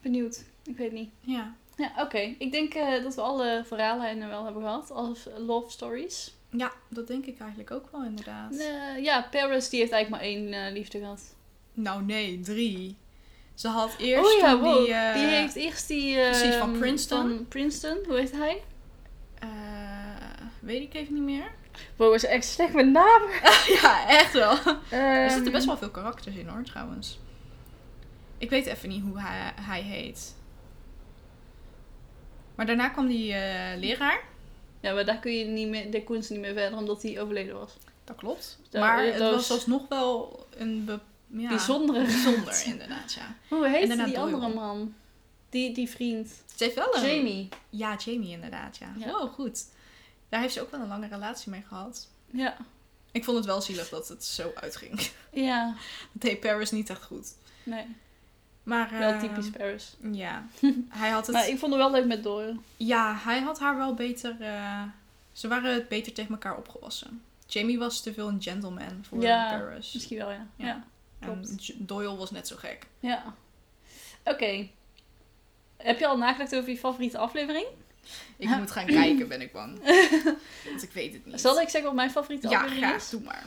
Speaker 2: Benieuwd. Ik weet niet.
Speaker 1: Ja.
Speaker 2: Ja, oké. Ik denk eh, dat we alle verhaallijnen wel hebben gehad. Als love stories.
Speaker 1: ja, dat denk ik eigenlijk ook wel, inderdaad.
Speaker 2: Eh, ja, Paris die heeft eigenlijk maar één eh, liefde gehad.
Speaker 1: Nou, nee, drie. Ze had eerst
Speaker 2: oh ja,
Speaker 1: toen
Speaker 2: wow.
Speaker 1: die... eh,
Speaker 2: heeft eerst die... eh,
Speaker 1: precies, van Princeton.
Speaker 2: Van Princeton. Hoe heet hij?
Speaker 1: eh, weet ik even niet
Speaker 2: [laughs]
Speaker 1: meer.
Speaker 2: Wow, is echt slecht met namen.
Speaker 1: ja, echt wel. [laughs] Er zitten
Speaker 2: Ehm,
Speaker 1: best wel veel karakters in hoor, trouwens. Ik weet even niet hoe hij, hij heet. Maar daarna kwam die eh, leraar.
Speaker 2: Ja, maar daar, kun je niet meer, daar kon ze niet meer verder, omdat hij overleden was.
Speaker 1: Dat klopt.
Speaker 2: Ja,
Speaker 1: maar
Speaker 2: dat
Speaker 1: het
Speaker 2: was-
Speaker 1: was alsnog wel een be- ja,
Speaker 2: Bijzondere.
Speaker 1: [laughs]
Speaker 2: [laughs]
Speaker 1: bijzonder, inderdaad, ja.
Speaker 2: Hoe
Speaker 1: En
Speaker 2: heet
Speaker 1: daarna
Speaker 2: die
Speaker 1: Doyle.
Speaker 2: andere man? Die, die vriend.
Speaker 1: Ze heeft wel een...
Speaker 2: Jamie.
Speaker 1: Ja, Jamie inderdaad, ja.
Speaker 2: Ja.
Speaker 1: Wow, goed. Daar heeft ze ook wel een lange relatie mee gehad.
Speaker 2: Ja.
Speaker 1: Ik vond het wel zielig dat het zo uitging. [laughs]
Speaker 2: Ja.
Speaker 1: Dat deed Paris niet echt goed.
Speaker 2: Nee.
Speaker 1: Maar...
Speaker 2: Wel
Speaker 1: eh,
Speaker 2: typisch Paris.
Speaker 1: Ja. Hij had het...
Speaker 2: [laughs] Maar ik vond het wel leuk met Doyle.
Speaker 1: Ja, hij had haar wel beter. eh, ze waren het beter tegen elkaar opgewassen. Jamie was te veel een gentleman voor
Speaker 2: Ja,
Speaker 1: Paris.
Speaker 2: Misschien wel, ja. Ja.
Speaker 1: Ja.
Speaker 2: ja.
Speaker 1: En
Speaker 2: klopt.
Speaker 1: J- Doyle was net zo gek.
Speaker 2: Oké. Heb je al nagedacht over je favoriete aflevering?
Speaker 1: Ik moet gaan kijken, ben ik
Speaker 2: [laughs]
Speaker 1: bang. Want ik weet het niet.
Speaker 2: Zal ik zeggen wat mijn favoriete
Speaker 1: Ja,
Speaker 2: aflevering
Speaker 1: graag.
Speaker 2: is?
Speaker 1: Doe maar.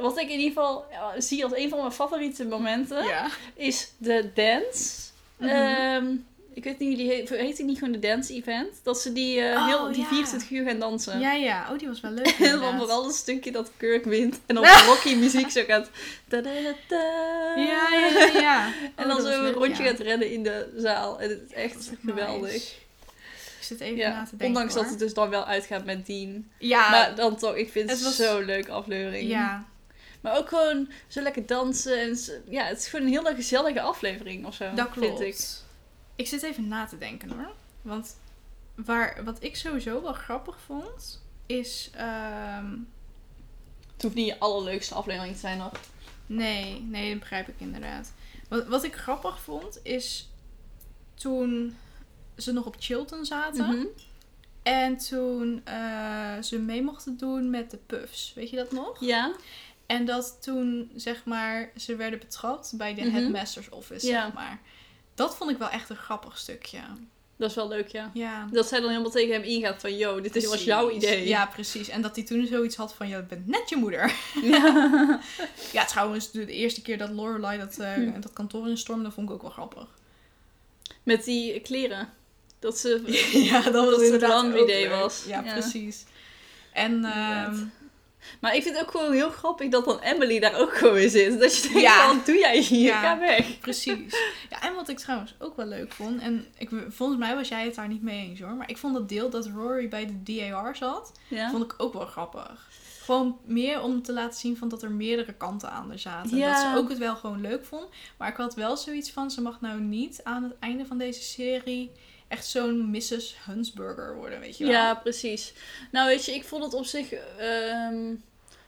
Speaker 2: Wat ik in ieder geval ja, zie als een van mijn favoriete momenten
Speaker 1: Ja.
Speaker 2: is de dance.
Speaker 1: Mhm.
Speaker 2: Ehm, ik weet niet, hoe die heet, heet die niet gewoon de dance event? Dat ze die, eh,
Speaker 1: Oh,
Speaker 2: heel, die
Speaker 1: ja.
Speaker 2: 24 uur gaan dansen. [laughs]
Speaker 1: ja, ja. Oh, die was wel leuk.
Speaker 2: En dan
Speaker 1: inderdaad.
Speaker 2: vooral een stukje dat Kirk wint.
Speaker 1: [laughs]
Speaker 2: En dan Rocky muziek zo gaat.
Speaker 1: Ja,
Speaker 2: ta-da-da-da.
Speaker 1: ja, ja. ja.
Speaker 2: [laughs] En
Speaker 1: Oh,
Speaker 2: dan
Speaker 1: dat was
Speaker 2: zo een
Speaker 1: leuk,
Speaker 2: rondje
Speaker 1: ja.
Speaker 2: gaat rennen in de zaal. En het is
Speaker 1: Dat
Speaker 2: echt
Speaker 1: was echt
Speaker 2: geweldig.
Speaker 1: nice. Ik zit even na
Speaker 2: Ja,
Speaker 1: te denken.
Speaker 2: ondanks dat
Speaker 1: hoor.
Speaker 2: het dus dan wel uitgaat met Dean.
Speaker 1: Ja,
Speaker 2: maar dan toch, ik vind het,
Speaker 1: het was-
Speaker 2: zo'n leuke aflevering.
Speaker 1: ja.
Speaker 2: Maar ook gewoon zo lekker dansen. En zo- ja, het is gewoon een hele gezellige aflevering of zo.
Speaker 1: Dat klopt.
Speaker 2: Vind ik.
Speaker 1: Ik zit even na te denken hoor. Want waar, wat ik sowieso wel grappig vond, is. ehm,
Speaker 2: Het hoeft niet je allerleukste aflevering te zijn nog.
Speaker 1: nee, nee, dat begrijp ik inderdaad. Wat, wat ik grappig vond, is toen ze nog op Chilton zaten.
Speaker 2: Mhm.
Speaker 1: En toen eh, ze mee mochten doen met de puffs. Weet je dat nog?
Speaker 2: Ja,
Speaker 1: En dat toen, zeg maar, ze werden betrapt bij de
Speaker 2: Mhm.
Speaker 1: headmaster's office,
Speaker 2: Ja.
Speaker 1: zeg maar. Dat vond ik wel echt een grappig stukje.
Speaker 2: dat is wel leuk, ja.
Speaker 1: Ja.
Speaker 2: Dat zij dan helemaal tegen hem ingaat van, yo, dit is, was
Speaker 1: Precies.
Speaker 2: jouw idee. [laughs]
Speaker 1: Ja, precies. En dat hij toen zoiets had van, je bent net je moeder. [laughs]
Speaker 2: Ja.
Speaker 1: Ja, trouwens, de de eerste keer dat Lorelai dat, eh,
Speaker 2: Hm.
Speaker 1: dat kantoor instormde, vond ik ook wel grappig.
Speaker 2: Met die kleren. Dat ze...
Speaker 1: [laughs] [laughs] ja, dat
Speaker 2: het
Speaker 1: inderdaad
Speaker 2: laundry
Speaker 1: ook
Speaker 2: day
Speaker 1: leuk.
Speaker 2: was.
Speaker 1: Ja,
Speaker 2: Ja.
Speaker 1: precies. En ehm, [laughs]
Speaker 2: Maar ik vind het ook gewoon heel grappig dat dan Emily daar ook gewoon in zit. Dat je denkt,
Speaker 1: Ja.
Speaker 2: wat doe jij hier?
Speaker 1: Ja.
Speaker 2: Ga weg.
Speaker 1: precies. Ja, en wat ik trouwens ook wel leuk vond, en ik, volgens mij was jij het daar niet mee eens hoor, maar ik vond dat deel dat Rory bij de DAR zat,
Speaker 2: Ja.
Speaker 1: vond ik ook wel grappig. Gewoon meer om te laten zien van dat er meerdere kanten aan er zaten.
Speaker 2: Ja.
Speaker 1: Dat ze ook het wel gewoon leuk vond. Maar ik had wel zoiets van, ze mag nou niet aan het einde van deze serie echt zo'n Mrs. Hunsburger worden, weet je wel.
Speaker 2: Ja, precies. Nou, weet je, ik vond het op zich. ehm,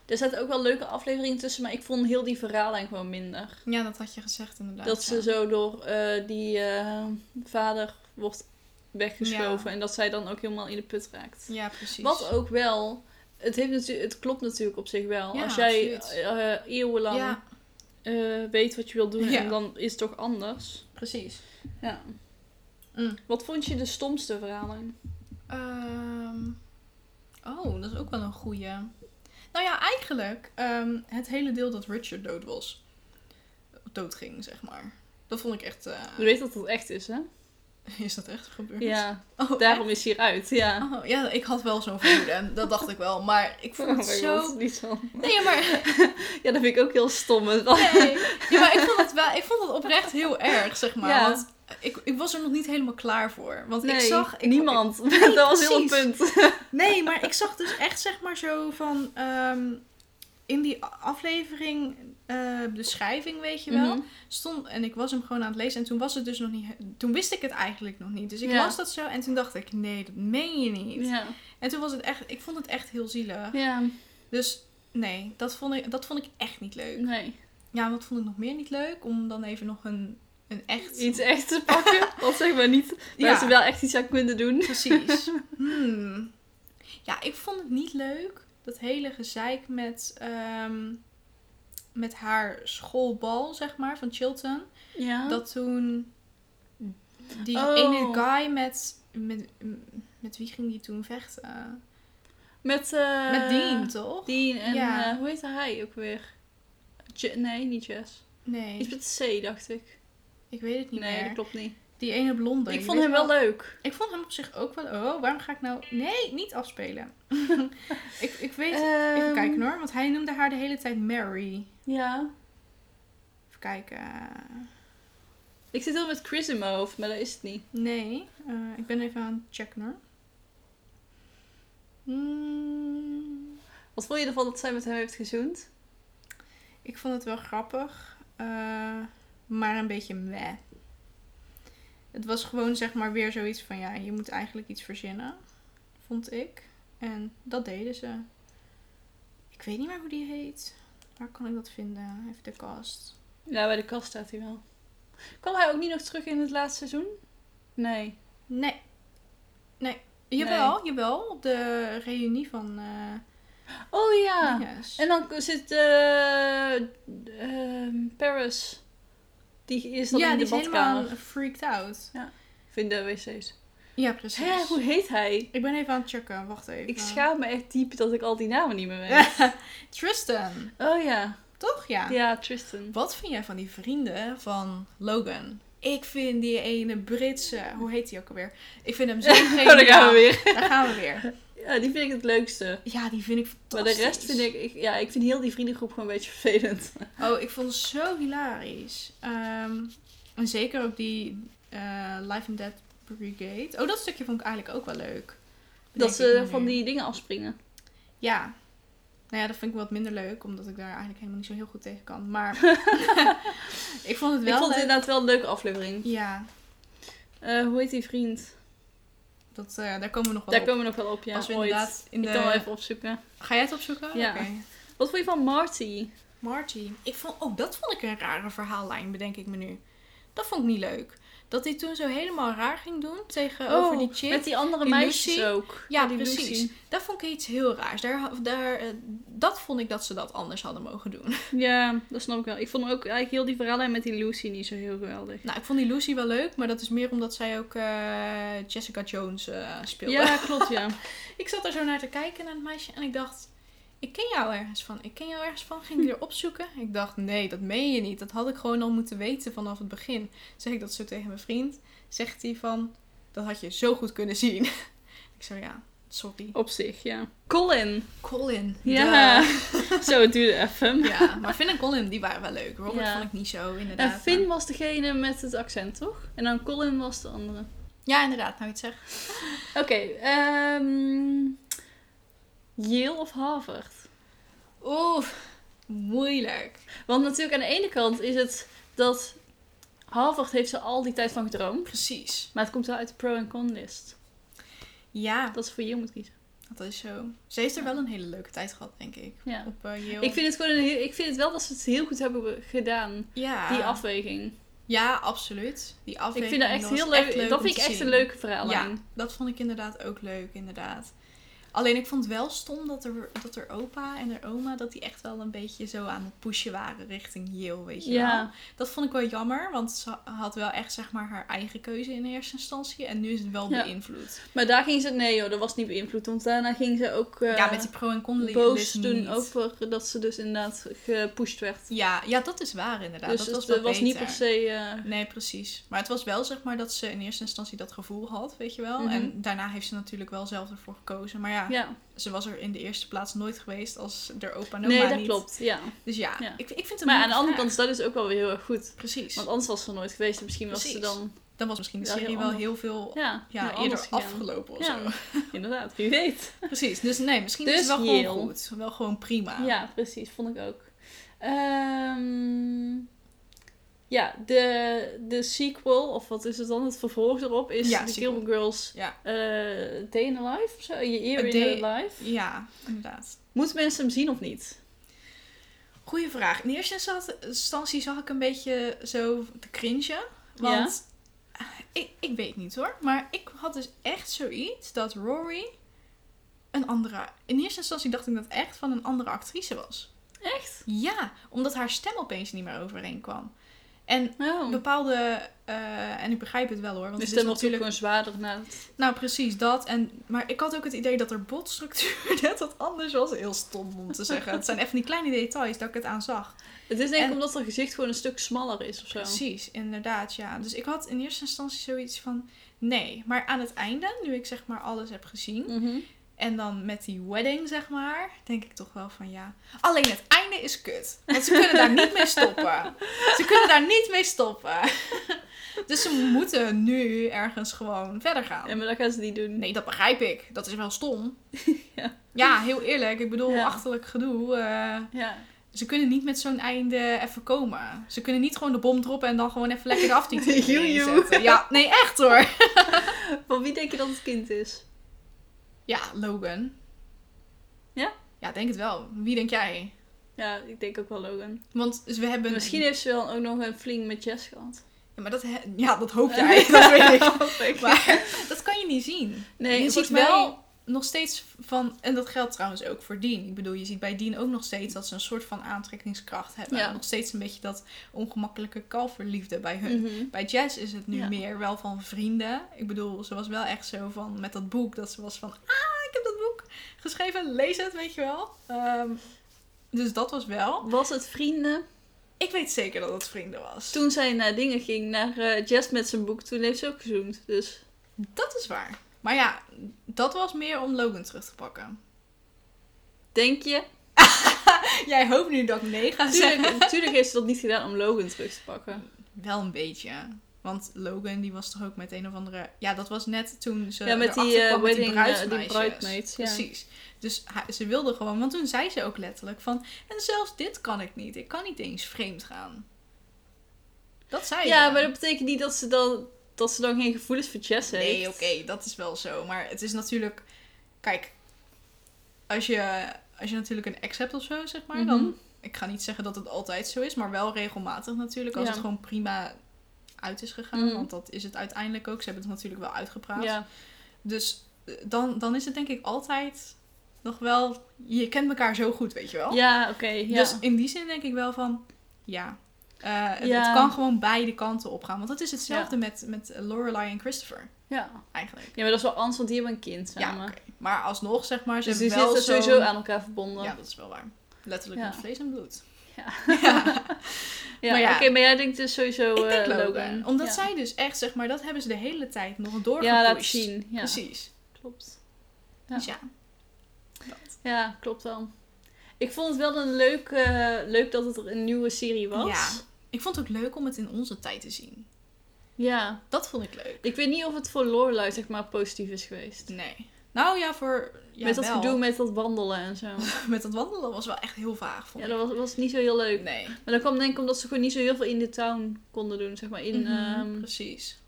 Speaker 2: er zaten ook wel leuke afleveringen tussen, maar ik vond heel die verhaallijn gewoon minder.
Speaker 1: Ja, dat had je gezegd inderdaad.
Speaker 2: dat ze
Speaker 1: ja.
Speaker 2: zo door eh, die eh, vader wordt weggeschoven en dat zij dan ook helemaal in de put raakt.
Speaker 1: Ja, precies.
Speaker 2: Wat ook wel. Het, heeft natu- het klopt natuurlijk op zich wel.
Speaker 1: Ja,
Speaker 2: Als jij
Speaker 1: absoluut.
Speaker 2: eh, eeuwenlang
Speaker 1: Ja,
Speaker 2: eh, weet wat je wil doen,
Speaker 1: Ja.
Speaker 2: en dan is het toch anders.
Speaker 1: precies.
Speaker 2: Ja.
Speaker 1: Mm. Ah.
Speaker 2: Wat vond je de stomste verhaallijn?
Speaker 1: Ehm, oh, dat is ook wel een goeie. Nou ja, eigenlijk ehm, het hele deel dat Richard dood was. Dood ging, zeg maar. Dat vond ik echt... eh,
Speaker 2: Je weet dat dat echt is, hè?
Speaker 1: [laughs] Is dat echt gebeurd?
Speaker 2: Ja.
Speaker 1: Oh,
Speaker 2: Daarom is hij eruit, ja.
Speaker 1: echt? Oh, ja, ik had wel zo'n vermoeden. en Dat dacht ik wel. Maar ik vond het
Speaker 2: Oh my
Speaker 1: zo...
Speaker 2: God, niet zo.
Speaker 1: Nee, maar,
Speaker 2: [laughs] Ja, dat vind ik ook heel stom. hè.
Speaker 1: nee. Ja, maar ik, vond het wel, ik vond het oprecht heel erg, zeg maar.
Speaker 2: Ja.
Speaker 1: Want ik, ik was er nog niet helemaal klaar voor. Want
Speaker 2: Nee,
Speaker 1: ik zag... Ik,
Speaker 2: [laughs] niemand. dat was heel het
Speaker 1: precies.
Speaker 2: punt.
Speaker 1: Nee, maar ik zag dus echt zeg maar zo van... ehm, in die a- aflevering, eh, beschrijving, weet je wel,
Speaker 2: Mhm.
Speaker 1: stond... En ik was hem gewoon aan het lezen en toen was het dus nog niet... Toen wist ik het eigenlijk nog niet. Dus ik
Speaker 2: Ja.
Speaker 1: las dat zo en toen dacht ik, nee, dat meen je niet.
Speaker 2: Ja.
Speaker 1: En toen was het echt... Ik vond het echt heel zielig.
Speaker 2: ja,
Speaker 1: Dus nee, dat vond, ik, dat vond ik echt niet leuk.
Speaker 2: nee.
Speaker 1: Ja, wat vond ik nog meer niet leuk? Om dan even nog een, een echt...
Speaker 2: Iets echt te [laughs] pakken. Wat zeg maar niet. Waar
Speaker 1: Ja.
Speaker 2: ze wel [laughs] echt iets aan kunnen doen.
Speaker 1: Precies. Hmm. Ja, ik vond het niet leuk. Dat hele gezeik met, ehm, met haar schoolbal, zeg maar, van Chilton.
Speaker 2: Ja.
Speaker 1: Dat toen die
Speaker 2: Oh.
Speaker 1: ene guy met, met... Met wie ging die toen vechten?
Speaker 2: Met, eh
Speaker 1: met Dean, toch?
Speaker 2: Dean en
Speaker 1: Ja.
Speaker 2: eh, hoe heet hij ook weer? Je- nee, niet Jess. Iets
Speaker 1: Nee,
Speaker 2: met C, dacht ik.
Speaker 1: ik weet het niet
Speaker 2: Nee, dat
Speaker 1: meer.
Speaker 2: klopt niet.
Speaker 1: Die ene blonde.
Speaker 2: ik
Speaker 1: je
Speaker 2: vond
Speaker 1: weet
Speaker 2: hem wel leuk.
Speaker 1: Ik vond hem op zich ook wel... Oh, waarom ga ik nou... Nee, niet afspelen. [laughs] ik, ik weet... Even
Speaker 2: Ehm,
Speaker 1: kijken hoor, want hij noemde haar de hele tijd Mary.
Speaker 2: Ja.
Speaker 1: Even kijken.
Speaker 2: Ik zit heel met Chris in mijn hoofd, maar dat is het niet.
Speaker 1: Nee, eh, ik ben even aan het checken hoor. Hmm,
Speaker 2: Wat vond je ervan dat zij met hem heeft gezoend?
Speaker 1: ik vond het wel grappig, eh, maar een beetje meh. Het was gewoon zeg maar weer zoiets van ja, je moet eigenlijk iets verzinnen, vond ik. En dat deden ze. Ik weet niet meer hoe die heet. Waar kan ik dat vinden? Even de cast.
Speaker 2: Ja, bij de kast staat hij wel. Kwam hij ook niet nog terug in het laatste seizoen? Nee.
Speaker 1: Nee. Nee. Jawel, jawel. Op de reunie van eh
Speaker 2: Oh ja.
Speaker 1: dinges.
Speaker 2: En dan zit eh, ehm, Paris. Die is dan
Speaker 1: ja,
Speaker 2: in
Speaker 1: die
Speaker 2: de
Speaker 1: is
Speaker 2: badkamer.
Speaker 1: helemaal freaked out.
Speaker 2: Vind de wc's.
Speaker 1: Ja, precies.
Speaker 2: Hé, hoe heet hij?
Speaker 1: Ik ben even aan het checken. Wacht even.
Speaker 2: Ik schaam me echt diep dat ik al die namen niet meer weet.
Speaker 1: Tristan.
Speaker 2: Oh ja.
Speaker 1: Toch? Ja.
Speaker 2: Ja, [laughs] Oh, Tristan.
Speaker 1: Wat vind jij van die vrienden van Logan? Ik vind die ene Britse... Hoe heet die ook alweer? Ik vind hem zo
Speaker 2: [laughs] Oh,
Speaker 1: geniaal.
Speaker 2: daar gaan we weer.
Speaker 1: Daar gaan we weer.
Speaker 2: Ja, die vind ik het leukste.
Speaker 1: Ja, die vind ik
Speaker 2: Maar
Speaker 1: fantastisch.
Speaker 2: de rest vind ik, ik... Ja, ik vind heel die vriendengroep gewoon een beetje vervelend.
Speaker 1: Oh, ik vond het zo hilarisch. Ehm, en zeker ook die eh Life and Death Brigade. Oh, dat stukje vond ik eigenlijk ook wel leuk. Denk
Speaker 2: Dat
Speaker 1: ik
Speaker 2: ze
Speaker 1: nu
Speaker 2: van
Speaker 1: weer.
Speaker 2: die dingen afspringen.
Speaker 1: Ja. Nou ja, dat vind ik wat minder leuk, omdat ik daar eigenlijk helemaal niet zo heel goed tegen kan.
Speaker 2: [laughs]
Speaker 1: Maar [laughs] ik vond het wel
Speaker 2: ik vond het
Speaker 1: leuk.
Speaker 2: inderdaad wel een leuke aflevering.
Speaker 1: Ja,
Speaker 2: Eh, hoe heet die vriend?
Speaker 1: dat, eh, daar komen we nog wel
Speaker 2: Daar
Speaker 1: op.
Speaker 2: komen we nog wel op, ja.
Speaker 1: Als we
Speaker 2: ooit.
Speaker 1: inderdaad in
Speaker 2: Ik
Speaker 1: de...
Speaker 2: kan wel even opzoeken.
Speaker 1: Ga jij het opzoeken?
Speaker 2: Ja.
Speaker 1: Oké.
Speaker 2: Wat vond je van Marty?
Speaker 1: Marty. Ik vond, ook dat vond ik een rare verhaallijn, bedenk ik me nu. Dat vond ik niet leuk. Dat hij toen zo helemaal raar ging doen tegen, Eh, over die chick.
Speaker 2: Oh, Met die andere
Speaker 1: die
Speaker 2: meisjes
Speaker 1: Lucy.
Speaker 2: ook.
Speaker 1: Ja,
Speaker 2: die
Speaker 1: precies.
Speaker 2: Lucy.
Speaker 1: Dat vond ik iets heel raars. Daar, daar, eh, dat vond ik dat ze dat anders hadden mogen doen. [laughs]
Speaker 2: Ja, dat snap ik wel. Ik vond ook eigenlijk heel die verhaallijn met die Lucy niet zo heel geweldig.
Speaker 1: Nou, ik vond die Lucy wel leuk, maar dat is meer omdat zij ook eh, Jessica Jones eh, speelde. [laughs]
Speaker 2: Ja, klopt, ja.
Speaker 1: Ik zat er zo naar te kijken naar het meisje en ik dacht, ik ken jou ergens van. Ik ken jou ergens van. Ging
Speaker 2: [laughs]
Speaker 1: ik erop zoeken? Ik dacht, nee, dat meen je niet. Dat had ik gewoon al moeten weten vanaf het begin. Zeg ik dat zo tegen mijn vriend. Zegt hij van, dat had je zo goed kunnen zien. [laughs] ik zei, ja, sorry.
Speaker 2: Op zich, ja. Colin.
Speaker 1: Colin.
Speaker 2: Ja. [laughs]
Speaker 1: duh.
Speaker 2: zo, het duurde even.
Speaker 1: Ja, maar Finn en Colin, die waren wel leuk. Robert
Speaker 2: Ja.
Speaker 1: vond ik niet zo, inderdaad.
Speaker 2: Nou, Finn was degene met het accent, toch? En dan Colin was de andere.
Speaker 1: Ja, inderdaad. Nou, iets zeggen.
Speaker 2: Oké, ehm Yale of Harvard?
Speaker 1: Oeh, moeilijk.
Speaker 2: Want natuurlijk aan de ene kant is het dat Harvard heeft ze al die tijd van gedroomd.
Speaker 1: Precies.
Speaker 2: Maar het komt wel uit de pro- en con-list.
Speaker 1: Ja,
Speaker 2: Dat is voor Yale moet kiezen.
Speaker 1: dat is zo. Ze heeft er wel een hele leuke tijd gehad, denk ik.
Speaker 2: Ja.
Speaker 1: Op eh, Yale.
Speaker 2: Ik vind, het gewoon een heel- ik vind het wel dat ze het heel goed hebben be- gedaan.
Speaker 1: ja.
Speaker 2: Die afweging.
Speaker 1: Ja, absoluut. Die
Speaker 2: Ik
Speaker 1: afweging.
Speaker 2: vind dat echt
Speaker 1: was
Speaker 2: heel leuk. dat
Speaker 1: om
Speaker 2: vind
Speaker 1: te
Speaker 2: ik echt
Speaker 1: zien.
Speaker 2: een leuke verhaallijn.
Speaker 1: Ja, dat vond ik inderdaad ook leuk, inderdaad. Alleen ik vond het wel stom dat er, dat er opa en haar oma... dat die echt wel een beetje zo aan het pushen waren richting Yale, weet je wel.
Speaker 2: Ja.
Speaker 1: Dat vond ik wel jammer, want ze had wel echt zeg maar haar eigen keuze in eerste instantie. En nu is het wel
Speaker 2: Ja.
Speaker 1: beïnvloed.
Speaker 2: Maar daar ging ze... Nee joh, dat was niet beïnvloed. Want daarna ging ze ook eh,
Speaker 1: ja, met die pro- en con
Speaker 2: boos
Speaker 1: doen
Speaker 2: doen over dat ze dus inderdaad gepusht werd.
Speaker 1: Ja, ja, dat is waar inderdaad. dat
Speaker 2: dus het
Speaker 1: was
Speaker 2: was,
Speaker 1: wel beter.
Speaker 2: niet per se... eh,
Speaker 1: Nee, precies. Maar het was wel zeg maar dat ze in eerste instantie dat gevoel had, weet je wel.
Speaker 2: Mhm.
Speaker 1: En daarna heeft ze natuurlijk wel zelf ervoor gekozen. Maar ja,
Speaker 2: ja,
Speaker 1: ze was er in de eerste plaats nooit geweest als er opa en oma
Speaker 2: nee, dat
Speaker 1: niet.
Speaker 2: klopt. Ja.
Speaker 1: Dus ja,
Speaker 2: Ja.
Speaker 1: Ik, ik vind het
Speaker 2: Maar
Speaker 1: een
Speaker 2: aan de andere
Speaker 1: moeilijke
Speaker 2: kant is dat dus ook wel weer heel erg goed.
Speaker 1: vraag. Precies.
Speaker 2: Want anders was ze nooit geweest. En misschien was ze
Speaker 1: Precies.
Speaker 2: dan
Speaker 1: Dan was misschien de
Speaker 2: Ja, heel
Speaker 1: serie wel
Speaker 2: anders.
Speaker 1: heel veel
Speaker 2: ja,
Speaker 1: ja,
Speaker 2: heel
Speaker 1: eerder
Speaker 2: anders gegaan.
Speaker 1: afgelopen of
Speaker 2: Ja.
Speaker 1: zo. [laughs]
Speaker 2: [laughs] Inderdaad, wie weet.
Speaker 1: Precies. Dus nee, misschien is
Speaker 2: Dus
Speaker 1: het wel gewoon
Speaker 2: Yale.
Speaker 1: goed. Wel gewoon prima.
Speaker 2: Ja, precies. Vond ik ook. Ehm, ja, de, de sequel, of wat is het dan? Het vervolg erop is
Speaker 1: Ja,
Speaker 2: The
Speaker 1: sequel.
Speaker 2: Gilmore Girls
Speaker 1: Ja.
Speaker 2: eh, Day in the Life of zo? A Year
Speaker 1: A
Speaker 2: in
Speaker 1: Day-
Speaker 2: the Life.
Speaker 1: Ja, inderdaad.
Speaker 2: Moeten mensen hem zien of niet?
Speaker 1: Goeie vraag. In eerste insta- instantie zag ik een beetje zo te cringen. Want eh, ik, ik weet niet hoor. Maar ik had dus echt zoiets dat Rory een andere. In eerste instantie dacht ik dat echt van een andere actrice was.
Speaker 2: Echt?
Speaker 1: Ja, omdat haar stem opeens niet meer overeen kwam. En
Speaker 2: Oh.
Speaker 1: bepaalde. eh, en ik begrijp het wel hoor. Want
Speaker 2: de
Speaker 1: het
Speaker 2: stem
Speaker 1: is
Speaker 2: dus wordt natuurlijk
Speaker 1: natuurlijk.
Speaker 2: gewoon zwaarder na het...
Speaker 1: Nou, precies dat. En, maar ik had ook het idee dat haar botstructuur [laughs] net wat anders was. Heel stom om te zeggen. Het zijn echt van die kleine details dat ik het aan zag.
Speaker 2: Het is denk ik
Speaker 1: En-
Speaker 2: omdat haar gezicht gewoon een stuk smaller is of zo.
Speaker 1: Precies, inderdaad, ja. Dus ik had in eerste instantie zoiets van, nee. Maar aan het einde, nu ik zeg maar alles heb gezien,
Speaker 2: Mhm.
Speaker 1: en dan met die wedding zeg maar, denk ik toch wel van ja. Alleen het einde is kut, want ze kunnen daar niet mee
Speaker 2: [laughs]
Speaker 1: stoppen. Ze kunnen daar niet mee stoppen. [laughs] Dus ze moeten nu ergens gewoon verder gaan.
Speaker 2: Ja, maar dat gaan ze niet doen.
Speaker 1: Nee, dat begrijp ik. Dat is wel stom.
Speaker 2: [laughs] Ja.
Speaker 1: Ja, heel eerlijk. Ik bedoel,
Speaker 2: Ja.
Speaker 1: achterlijk gedoe. eh,
Speaker 2: Ja.
Speaker 1: ze kunnen niet met zo'n einde even komen. Ze kunnen niet gewoon de bom droppen en dan gewoon even lekker de
Speaker 2: [laughs]
Speaker 1: aftiteling
Speaker 2: Joejoe.
Speaker 1: erin zetten. Ja, nee, echt hoor.
Speaker 2: Van wie denk je dat het kind is?
Speaker 1: Ja, Logan.
Speaker 2: Ja?
Speaker 1: Ja, denk het wel. Wie denk jij?
Speaker 2: Ja, ik denk ook wel Logan.
Speaker 1: Want dus we hebben...
Speaker 2: Misschien heeft ze wel ook nog een fling met Jess gehad. Eh,
Speaker 1: Ja, maar dat, he- ja, dat hoop
Speaker 2: [laughs]
Speaker 1: jij. dat weet ik.
Speaker 2: ik.
Speaker 1: Maar dat kan je niet zien.
Speaker 2: nee,
Speaker 1: je ziet
Speaker 2: volgens
Speaker 1: wel
Speaker 2: mij-
Speaker 1: nog steeds van... En dat geldt trouwens ook voor Dean. Ik bedoel, je ziet bij Dean ook nog steeds dat ze een soort van aantrekkingskracht hebben.
Speaker 2: Ja.
Speaker 1: Nog steeds een beetje dat ongemakkelijke kalverliefde bij hun.
Speaker 2: [laughs] Mhm.
Speaker 1: Bij Jazz is het nu
Speaker 2: Ja.
Speaker 1: meer wel van vrienden. Ik bedoel, ze was wel echt zo van met dat boek. Dat ze was van, ah, ik heb dat boek geschreven. Lees het, weet je wel. Ehm, dus dat was wel.
Speaker 2: Was het vrienden?
Speaker 1: Ik weet zeker dat het vrienden was.
Speaker 2: Toen zij naar dingen ging, naar eh, Jess met zijn boek, toen heeft ze ook gezoomd. Dus
Speaker 1: Dat is waar. Maar ja, dat was meer om Logan terug te pakken. [laughs]
Speaker 2: denk je?
Speaker 1: Jij hoopt nu dat ik nee ga zeggen.
Speaker 2: Tuurlijk, tuurlijk heeft ze dat niet gedaan om Logan terug te pakken.
Speaker 1: Wel een beetje. Want Logan, die was toch ook met een of andere... Ja, dat was net toen ze
Speaker 2: Ja, met die,
Speaker 1: erachter
Speaker 2: eh,
Speaker 1: kwam met
Speaker 2: wedding, eh, die
Speaker 1: bruidsmeisjes.
Speaker 2: bruidmaids, ja.
Speaker 1: Precies. Dus hij- ze wilde gewoon... Want toen zei ze ook letterlijk van... En zelfs dit kan ik niet. Ik kan niet eens vreemd gaan. Dat zei ze.
Speaker 2: Ja, maar dat betekent niet dat ze dan, dat ze dan geen gevoelens voor Jess heeft.
Speaker 1: Nee, oké, dat is wel zo. Maar het is natuurlijk... Kijk, als je, als je natuurlijk een ex hebt of zo, zeg maar,
Speaker 2: Mhm.
Speaker 1: dan... Ik ga niet zeggen dat het altijd zo is, maar wel regelmatig natuurlijk. Als
Speaker 2: Ja.
Speaker 1: het gewoon prima uit is gegaan,
Speaker 2: Mhm.
Speaker 1: want dat is het uiteindelijk ook. Ze hebben het natuurlijk wel uitgepraat.
Speaker 2: Ja.
Speaker 1: Dus eh, dan, dan is het denk ik altijd nog wel... Je kent elkaar zo goed, weet je wel?
Speaker 2: Ja, oké. ja.
Speaker 1: Dus in die zin denk ik wel van, ja... eh, het-
Speaker 2: Ja.
Speaker 1: Het kan gewoon beide kanten opgaan. Want dat is hetzelfde met, met Lorelai en Christopher,
Speaker 2: ja.
Speaker 1: eigenlijk.
Speaker 2: ja, maar dat is wel anders, want die hebben een kind samen.
Speaker 1: Ja, oké. maar alsnog zeg maar, ze
Speaker 2: Dus die
Speaker 1: hebben wel
Speaker 2: zitten
Speaker 1: zo'n-
Speaker 2: sowieso aan elkaar verbonden.
Speaker 1: Ja, dat is wel waar. Letterlijk
Speaker 2: Ja.
Speaker 1: met vlees en bloed.
Speaker 2: [laughs] Ja,
Speaker 1: Maar ja.
Speaker 2: oké, maar jij denkt dus sowieso
Speaker 1: Ik denk
Speaker 2: eh,
Speaker 1: Logan. Omdat
Speaker 2: Ja.
Speaker 1: zij dus echt, zeg maar, dat hebben ze de hele tijd nog doorgepusht.
Speaker 2: Ja, laat zien. Ja,
Speaker 1: Precies.
Speaker 2: klopt.
Speaker 1: Ja.
Speaker 2: Ja.
Speaker 1: Dus ja.
Speaker 2: Ja, klopt wel. Ik vond het wel een leuk, eh, leuk dat het er een nieuwe serie was.
Speaker 1: Ja. Ik vond het ook leuk om het in onze tijd te zien.
Speaker 2: Ja.
Speaker 1: Dat vond ik leuk.
Speaker 2: Ik weet niet of het voor Lorelai zeg maar positief is geweest.
Speaker 1: Nee. Nou ja, voor... Ja,
Speaker 2: met dat
Speaker 1: wel.
Speaker 2: gedoe met dat wandelen en zo.
Speaker 1: [laughs] Met dat wandelen was wel echt heel vaag, vond
Speaker 2: Ja,
Speaker 1: ik.
Speaker 2: dat was, was niet zo heel leuk.
Speaker 1: Nee.
Speaker 2: Maar dat kwam denk ik omdat ze gewoon niet zo heel veel in de town konden doen, zeg maar. In,
Speaker 1: Mhm,
Speaker 2: ehm,
Speaker 1: Precies.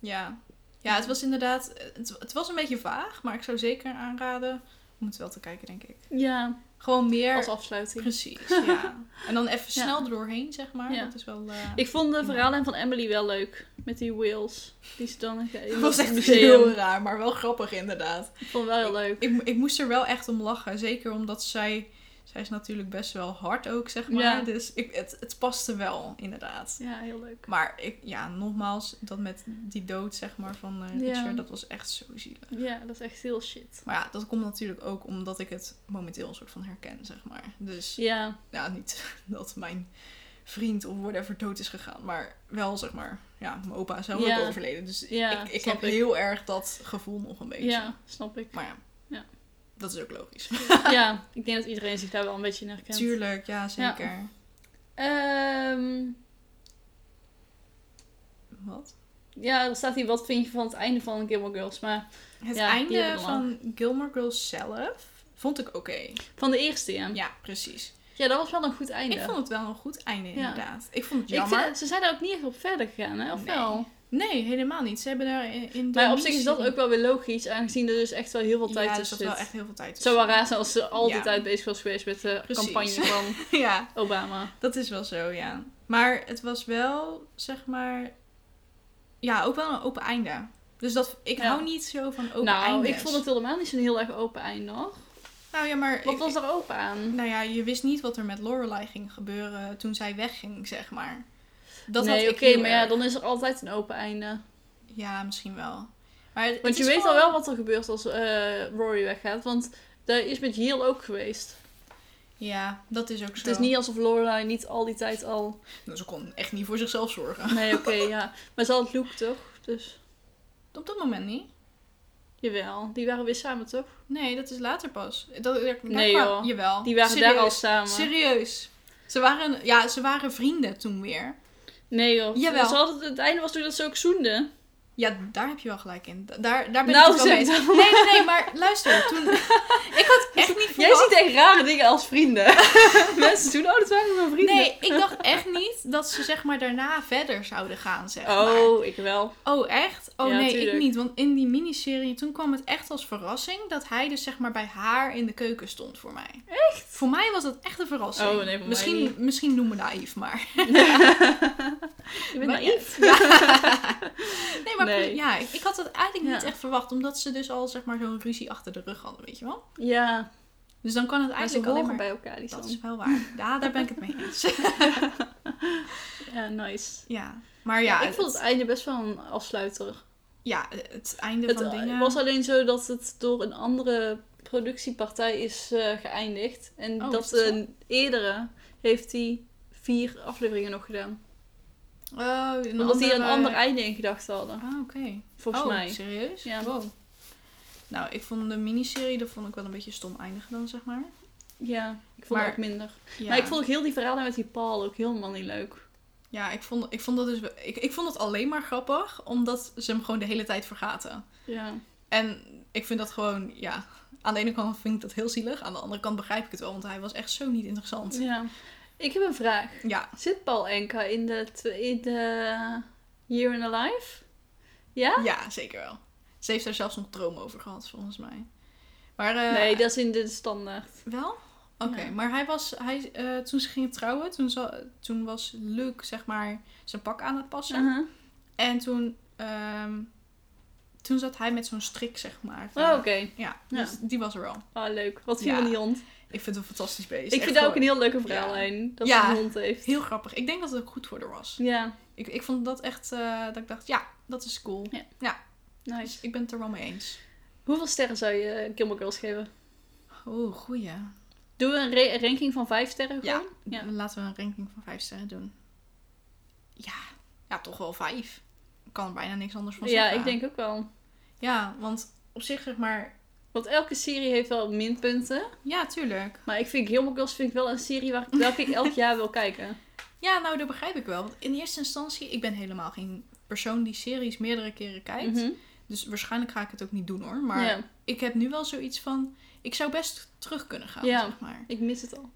Speaker 1: Ja. Ja, het was inderdaad... Het, het was een beetje vaag, maar ik zou zeker aanraden... om het wel te kijken, denk ik.
Speaker 2: ja,
Speaker 1: Gewoon meer...
Speaker 2: als afsluiting.
Speaker 1: Precies,
Speaker 2: [laughs]
Speaker 1: ja. En dan even
Speaker 2: Ja.
Speaker 1: snel er doorheen, zeg maar.
Speaker 2: Ja.
Speaker 1: Dat is wel... eh, [laughs]
Speaker 2: Ik vond de verhalen van Emily wel leuk. Met die wheels. Die ze dan in
Speaker 1: Dat was echt
Speaker 2: museum.
Speaker 1: heel raar, maar wel grappig inderdaad.
Speaker 2: Ik vond het wel heel leuk.
Speaker 1: Ik, ik moest er wel echt om lachen. Zeker omdat zij... Zij is natuurlijk best wel hard ook, zeg maar.
Speaker 2: Ja.
Speaker 1: Dus ik, het, het paste wel, inderdaad.
Speaker 2: Ja, heel leuk.
Speaker 1: Maar ik, ja, nogmaals, dat met die dood, zeg maar, van eh,
Speaker 2: Ja.
Speaker 1: Richard, dat was echt zo zielig.
Speaker 2: Ja, dat is echt heel shit.
Speaker 1: Maar ja, dat komt natuurlijk ook omdat ik het momenteel een soort van herken, zeg maar. Dus
Speaker 2: Ja,
Speaker 1: ja, niet [laughs] dat mijn vriend of whatever dood is gegaan, maar wel, zeg maar, ja, mijn opa is zelf
Speaker 2: Ja.
Speaker 1: ook overleden. Dus
Speaker 2: Ja,
Speaker 1: ik, ik
Speaker 2: snap
Speaker 1: heb
Speaker 2: ik.
Speaker 1: heel erg dat gevoel nog een beetje.
Speaker 2: ja, snap ik.
Speaker 1: Maar ja,
Speaker 2: Ja.
Speaker 1: dat is ook logisch.
Speaker 2: Ja, [laughs] ik denk dat iedereen zich daar wel een beetje in herkent.
Speaker 1: Tuurlijk, ja, zeker.
Speaker 2: Ehm,
Speaker 1: Wat?
Speaker 2: ja, er staat hier wat vind je van het einde van Gilmore Girls. Maar
Speaker 1: Het
Speaker 2: Ja, die
Speaker 1: einde
Speaker 2: hebben we
Speaker 1: van Gilmore Girls zelf vond ik oké.
Speaker 2: van de eerste, ja. Ja,
Speaker 1: Ja, precies.
Speaker 2: dat was wel een goed einde.
Speaker 1: Ik vond het wel een goed einde, inderdaad. Ik vond het
Speaker 2: Ik vind-
Speaker 1: jammer.
Speaker 2: ze zijn daar ook niet echt op verder gegaan, hè? Of
Speaker 1: Nee.
Speaker 2: wel?
Speaker 1: Nee, helemaal niet. Ze hebben daar in in de
Speaker 2: Maar op zich is dat
Speaker 1: miniserie-
Speaker 2: ook wel weer logisch, aangezien er dus echt wel heel veel tijd
Speaker 1: ja, er
Speaker 2: tussen
Speaker 1: zat
Speaker 2: zit.
Speaker 1: wel echt heel veel tijd
Speaker 2: Het zou wel
Speaker 1: tussen.
Speaker 2: raar zijn als ze al die
Speaker 1: Ja.
Speaker 2: tijd bezig was geweest met de
Speaker 1: Precies.
Speaker 2: campagne [laughs] van
Speaker 1: [laughs] Ja,
Speaker 2: Obama.
Speaker 1: dat is wel zo, ja. Maar het was wel, zeg maar... Ja, ook wel een open einde. Dus dat, ik
Speaker 2: Ja.
Speaker 1: hou niet zo van open
Speaker 2: nou,
Speaker 1: eindes.
Speaker 2: ik vond het helemaal niet zo'n heel erg open einde, hoor.
Speaker 1: Nou ja, maar...
Speaker 2: Wat
Speaker 1: ik-
Speaker 2: was daar open aan?
Speaker 1: Nou ja, je wist niet wat er met Lorelai ging gebeuren toen zij wegging, zeg maar. Dat
Speaker 2: nee,
Speaker 1: had ik
Speaker 2: oké,
Speaker 1: heel
Speaker 2: maar ja,
Speaker 1: erg.
Speaker 2: dan is er altijd een open einde.
Speaker 1: Ja, misschien wel. Maar het-
Speaker 2: Want
Speaker 1: het
Speaker 2: je
Speaker 1: is
Speaker 2: weet al
Speaker 1: gewoon-
Speaker 2: wel wat er gebeurt als eh, Rory weggaat, want dat is met Jill ook geweest. Dus
Speaker 1: Ja, dat is ook zo.
Speaker 2: Het is niet alsof Lorelai niet al die tijd al...
Speaker 1: Nou, ze kon echt niet voor zichzelf zorgen. [laughs]
Speaker 2: Nee, oké, ja. Maar ze had Luke, toch? Dus,
Speaker 1: Op dat moment niet.
Speaker 2: jawel. Die waren weer samen, toch?
Speaker 1: Nee, dat is later pas. Dat, daar
Speaker 2: Nee,
Speaker 1: kwam-
Speaker 2: joh.
Speaker 1: Jawel.
Speaker 2: Die waren
Speaker 1: Oh, Serieus.
Speaker 2: daar al samen.
Speaker 1: Serieus. Ze waren, ja, ze waren vrienden toen weer.
Speaker 2: Nee joh.
Speaker 1: Jawel.
Speaker 2: Ze hadden- het einde was toen dat ze ook zoenden.
Speaker 1: Ja, daar heb je wel gelijk in. Da- Daar, daar ben
Speaker 2: Nou,
Speaker 1: ik het wel mee
Speaker 2: zeg
Speaker 1: eens. Nee, nee, nee, maar luister. Toen... [laughs] ik had echt niet
Speaker 2: Jij
Speaker 1: verwacht...
Speaker 2: ziet echt rare dingen
Speaker 1: [laughs]
Speaker 2: als vrienden. Mensen doen, oh dat waren mijn vrienden.
Speaker 1: Nee, ik dacht echt niet dat ze zeg maar daarna verder zouden gaan, zeg maar.
Speaker 2: Oh, ik wel.
Speaker 1: Oh, echt? Oh
Speaker 2: Ja,
Speaker 1: nee,
Speaker 2: tuurlijk.
Speaker 1: ik niet. Want in die miniserie, toen kwam het echt als verrassing dat hij dus zeg maar bij haar in de keuken stond voor mij. Echt? Voor mij was dat echt een verrassing.
Speaker 2: Oh, nee, voor mij
Speaker 1: misschien,
Speaker 2: niet.
Speaker 1: misschien noem me naïef, maar...
Speaker 2: Je
Speaker 1: Maar-
Speaker 2: bent naïef.
Speaker 1: Nee, maar
Speaker 2: Nee.
Speaker 1: ja, ik, ik had dat eigenlijk niet
Speaker 2: Ja.
Speaker 1: echt verwacht. Omdat ze dus al zeg maar zo'n ruzie achter de rug hadden, weet je wel.
Speaker 2: Ja,
Speaker 1: Dus dan kan het
Speaker 2: maar ze
Speaker 1: eigenlijk alleen
Speaker 2: horen
Speaker 1: maar...
Speaker 2: bij elkaar die
Speaker 1: Dat
Speaker 2: song.
Speaker 1: is wel waar. Ja, daar ben ik het mee eens.
Speaker 2: [laughs] Ja, nice.
Speaker 1: ja. Maar
Speaker 2: Ja,
Speaker 1: ja,
Speaker 2: ik vond het einde best wel een afsluiter.
Speaker 1: ja, het einde
Speaker 2: Het
Speaker 1: van
Speaker 2: eh,
Speaker 1: dingen...
Speaker 2: was alleen zo dat het door een andere productiepartij is eh, geëindigd. En
Speaker 1: Oh,
Speaker 2: dat
Speaker 1: is dat zo?
Speaker 2: een eerdere heeft hij vier afleveringen nog gedaan.
Speaker 1: Oh, een
Speaker 2: Omdat die
Speaker 1: andere-
Speaker 2: een ander einde in gedachten hadden,
Speaker 1: Ah, oké.
Speaker 2: volgens
Speaker 1: oh,
Speaker 2: mij.
Speaker 1: serieus?
Speaker 2: Ja.
Speaker 1: Wow. Nou, ik vond de miniserie, dat vond ik wel een beetje stom eindigen dan, zeg maar.
Speaker 2: Ja, ik vond het
Speaker 1: Maar-
Speaker 2: ook minder.
Speaker 1: Ja,
Speaker 2: Maar ik vond ook heel die verhalen met die Paul ook helemaal niet leuk.
Speaker 1: ja, ik vond, ik vond dat dus... wel- Ik, ik vond het alleen maar grappig, omdat ze hem gewoon de hele tijd vergaten.
Speaker 2: Ja.
Speaker 1: En ik vind dat gewoon, ja... Aan de ene kant vind ik dat heel zielig, aan de andere kant begrijp ik het wel, want hij was echt zo niet interessant.
Speaker 2: ja. Ik heb een vraag.
Speaker 1: Ja,
Speaker 2: Zit Paul Enka in de, tw- in de Year in a Life? Ja?
Speaker 1: ja, zeker wel. Ze heeft daar zelfs nog droom over gehad, volgens mij. Maar, eh,
Speaker 2: nee, dat is in de standaard.
Speaker 1: Wel? Oké,
Speaker 2: Ja.
Speaker 1: maar hij was, hij, eh, toen ze gingen trouwen, toen, za- toen was Luke, zeg maar, zijn pak aan het passen.
Speaker 2: Uh-huh.
Speaker 1: En toen, ehm, toen zat hij met zo'n strik, zeg maar.
Speaker 2: Oh, oké.
Speaker 1: Ja,
Speaker 2: Ja.
Speaker 1: dus die was er wel.
Speaker 2: Ah, leuk. Wat viel
Speaker 1: Ja.
Speaker 2: van die hond?
Speaker 1: Ik vind het een fantastisch beest.
Speaker 2: ik
Speaker 1: Echt
Speaker 2: vind dat ook een
Speaker 1: gewoon
Speaker 2: heel leuke verhaallijn. Dat
Speaker 1: Ja.
Speaker 2: ze een hond heeft.
Speaker 1: heel grappig. Ik denk dat het ook goed voor haar was.
Speaker 2: Ja,
Speaker 1: Ik, ik vond dat echt, eh, dat ik dacht, ja, dat is cool.
Speaker 2: Ja.
Speaker 1: Dus
Speaker 2: nice.
Speaker 1: ik ben het er wel mee eens.
Speaker 2: Hoeveel sterren zou je Gilmore Girls geven?
Speaker 1: Oh, goeie. Ja.
Speaker 2: Doen we een ra- ranking van vijf sterren gewoon? Ja.
Speaker 1: laten we een ranking van vijf sterren doen. Ja, ja toch wel vijf. Ik kan er bijna niks anders van
Speaker 2: Ja,
Speaker 1: zeggen.
Speaker 2: ik denk ook wel.
Speaker 1: Ja, want op zich zeg maar...
Speaker 2: Want elke serie heeft wel minpunten.
Speaker 1: Ja, tuurlijk.
Speaker 2: Maar ik vind Gilmore Girls vind ik wel een serie waar welke ik elk jaar wil
Speaker 1: [laughs]
Speaker 2: kijken.
Speaker 1: Ja, nou, dat begrijp ik wel. Want in eerste instantie, ik ben helemaal geen persoon die series meerdere keren kijkt.
Speaker 2: Mhm.
Speaker 1: Dus waarschijnlijk ga ik het ook niet doen hoor. Maar
Speaker 2: Ja.
Speaker 1: ik heb nu wel zoiets van. Ik zou best terug kunnen gaan,
Speaker 2: Ja.
Speaker 1: zeg maar.
Speaker 2: Ik mis het al.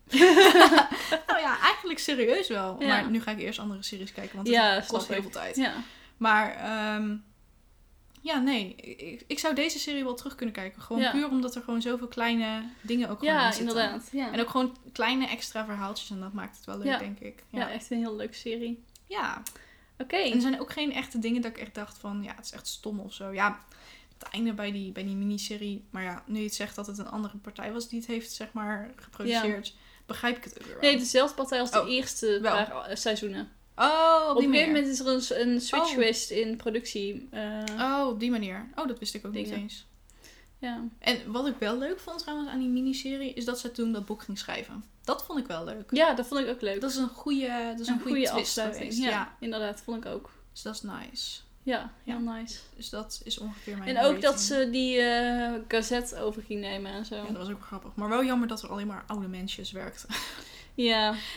Speaker 1: Nou ja, eigenlijk serieus wel.
Speaker 2: Ja.
Speaker 1: Maar nu ga ik eerst andere series kijken, want het
Speaker 2: Ja, snap
Speaker 1: kost heel
Speaker 2: ik.
Speaker 1: veel tijd.
Speaker 2: Ja.
Speaker 1: Maar ehm, ja, nee. Ik, ik zou deze serie wel terug kunnen kijken. Gewoon
Speaker 2: Ja.
Speaker 1: puur omdat er gewoon zoveel kleine dingen ook gewoon in
Speaker 2: Ja,
Speaker 1: zitten.
Speaker 2: inderdaad. Ja.
Speaker 1: En ook gewoon kleine extra verhaaltjes. En dat maakt het wel leuk,
Speaker 2: Ja.
Speaker 1: denk ik.
Speaker 2: ja.
Speaker 1: Ja.
Speaker 2: echt een heel leuke serie.
Speaker 1: Ja.
Speaker 2: Oké.
Speaker 1: En er zijn ook geen echte dingen dat ik echt dacht van... Ja, het is echt stom of zo. Ja, het einde bij die, bij die miniserie. Maar ja, nu je het zegt dat het een andere partij was die het heeft, zeg maar, geproduceerd. Begrijp ik het ook weer wel.
Speaker 2: Nee, dezelfde partij als de
Speaker 1: Oh,
Speaker 2: eerste
Speaker 1: wel.
Speaker 2: paar eh, seizoenen.
Speaker 1: Oh, op
Speaker 2: Op
Speaker 1: die
Speaker 2: een gegeven
Speaker 1: manier.
Speaker 2: moment is er een, s- een switch
Speaker 1: Oh.
Speaker 2: geweest in productie. eh,
Speaker 1: Oh, op die manier. Oh, dat wist ik ook niet
Speaker 2: Dingen.
Speaker 1: eens.
Speaker 2: ja.
Speaker 1: En wat ik wel leuk vond trouwens aan die miniserie... is dat ze toen dat boek ging schrijven. Dat vond ik wel leuk.
Speaker 2: ja, dat vond ik ook leuk.
Speaker 1: Dat is een goede, dat is een goede, twist geweest.
Speaker 2: Ja,
Speaker 1: Ja.
Speaker 2: inderdaad, vond ik ook.
Speaker 1: Dus dat is nice.
Speaker 2: Ja,
Speaker 1: Ja.
Speaker 2: heel nice.
Speaker 1: Dus dat is ongeveer mijn
Speaker 2: en ook dat
Speaker 1: rating.
Speaker 2: ze die eh gazette over ging nemen en zo.
Speaker 1: Ja,
Speaker 2: Ja,
Speaker 1: dat was ook grappig. Maar wel jammer dat er alleen maar oude mensjes werkten. [laughs]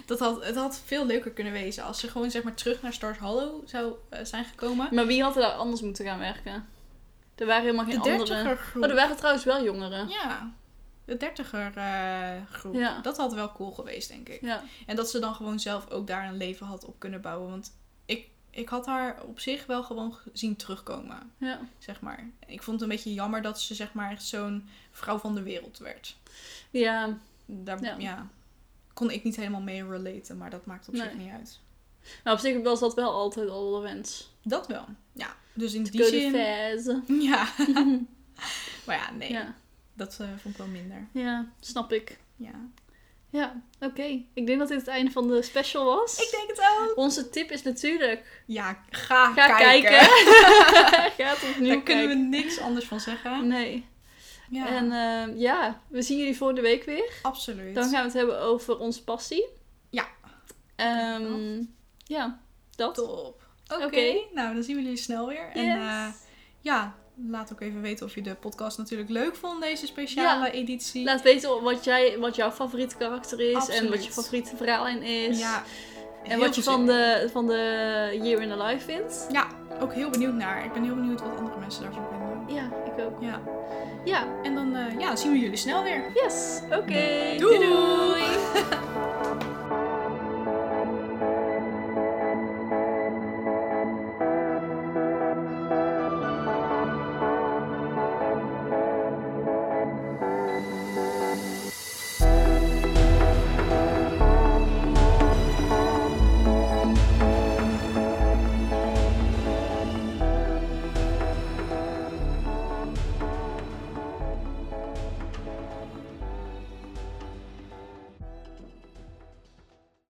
Speaker 1: Dat had, het had veel leuker kunnen wezen als ze gewoon zeg maar terug naar Stars Hollow zou eh, zijn gekomen.
Speaker 2: maar wie had er daar anders moeten gaan werken? Er waren helemaal geen
Speaker 1: De
Speaker 2: andere.
Speaker 1: dertiger
Speaker 2: Oh, er
Speaker 1: groep.
Speaker 2: waren trouwens wel jongeren.
Speaker 1: Ja, de dertiger eh, groep.
Speaker 2: Ja.
Speaker 1: Dat had wel cool geweest, denk ik.
Speaker 2: Ja,
Speaker 1: En dat ze dan gewoon zelf ook daar een leven had op kunnen bouwen. Want ik, ik had haar op zich wel gewoon ge- zien terugkomen,
Speaker 2: ja.
Speaker 1: zeg maar. Ik vond het een beetje jammer dat ze zeg maar echt zo'n vrouw van de wereld werd.
Speaker 2: ja.
Speaker 1: Daar
Speaker 2: Ja.
Speaker 1: ja. kon ik niet helemaal mee relaten, maar dat maakt op zich
Speaker 2: Nee.
Speaker 1: niet uit.
Speaker 2: Nou, op zich was dat wel altijd al de wens.
Speaker 1: Dat wel, ja. Dus in die
Speaker 2: Go to
Speaker 1: zin...
Speaker 2: Fez.
Speaker 1: [laughs] Ja. maar ja, nee.
Speaker 2: Ja.
Speaker 1: Dat eh, vond ik wel minder.
Speaker 2: ja, snap ik.
Speaker 1: Ja.
Speaker 2: Ja, oké. Ik denk dat dit het einde van de special was.
Speaker 1: Ik denk het ook.
Speaker 2: Onze tip is natuurlijk...
Speaker 1: Ja, ga,
Speaker 2: Ga
Speaker 1: [laughs]
Speaker 2: kijken.
Speaker 1: kijken. [laughs]
Speaker 2: Ga het opnieuw
Speaker 1: Daar kunnen we
Speaker 2: kijken.
Speaker 1: niks anders van zeggen.
Speaker 2: Nee.
Speaker 1: Ja,
Speaker 2: En eh, ja, we zien jullie volgende week weer.
Speaker 1: absoluut.
Speaker 2: Dan gaan we het hebben over onze passie.
Speaker 1: Ja.
Speaker 2: Ehm, ja, dat.
Speaker 1: Top. Oké,
Speaker 2: Oké.
Speaker 1: nou dan zien we jullie snel weer. En
Speaker 2: Yes.
Speaker 1: eh, ja, laat ook even weten of je de podcast natuurlijk leuk vond, deze speciale editie.
Speaker 2: Laat weten wat, jij, wat jouw favoriete karakter is. En
Speaker 1: Absoluut.
Speaker 2: wat je favoriete verhaallijn is.
Speaker 1: Ja,
Speaker 2: en
Speaker 1: heel
Speaker 2: wat je
Speaker 1: veel
Speaker 2: van
Speaker 1: zin
Speaker 2: de, van de Year in the Life vindt.
Speaker 1: in. Ja, ook heel benieuwd naar. Ik ben heel benieuwd wat andere mensen daarvan vinden.
Speaker 2: Ja, ik ook.
Speaker 1: Ja,
Speaker 2: Ja,
Speaker 1: en dan eh, ja, zien we jullie snel weer.
Speaker 2: yes. Oké.
Speaker 1: Doei!
Speaker 2: doei. doei.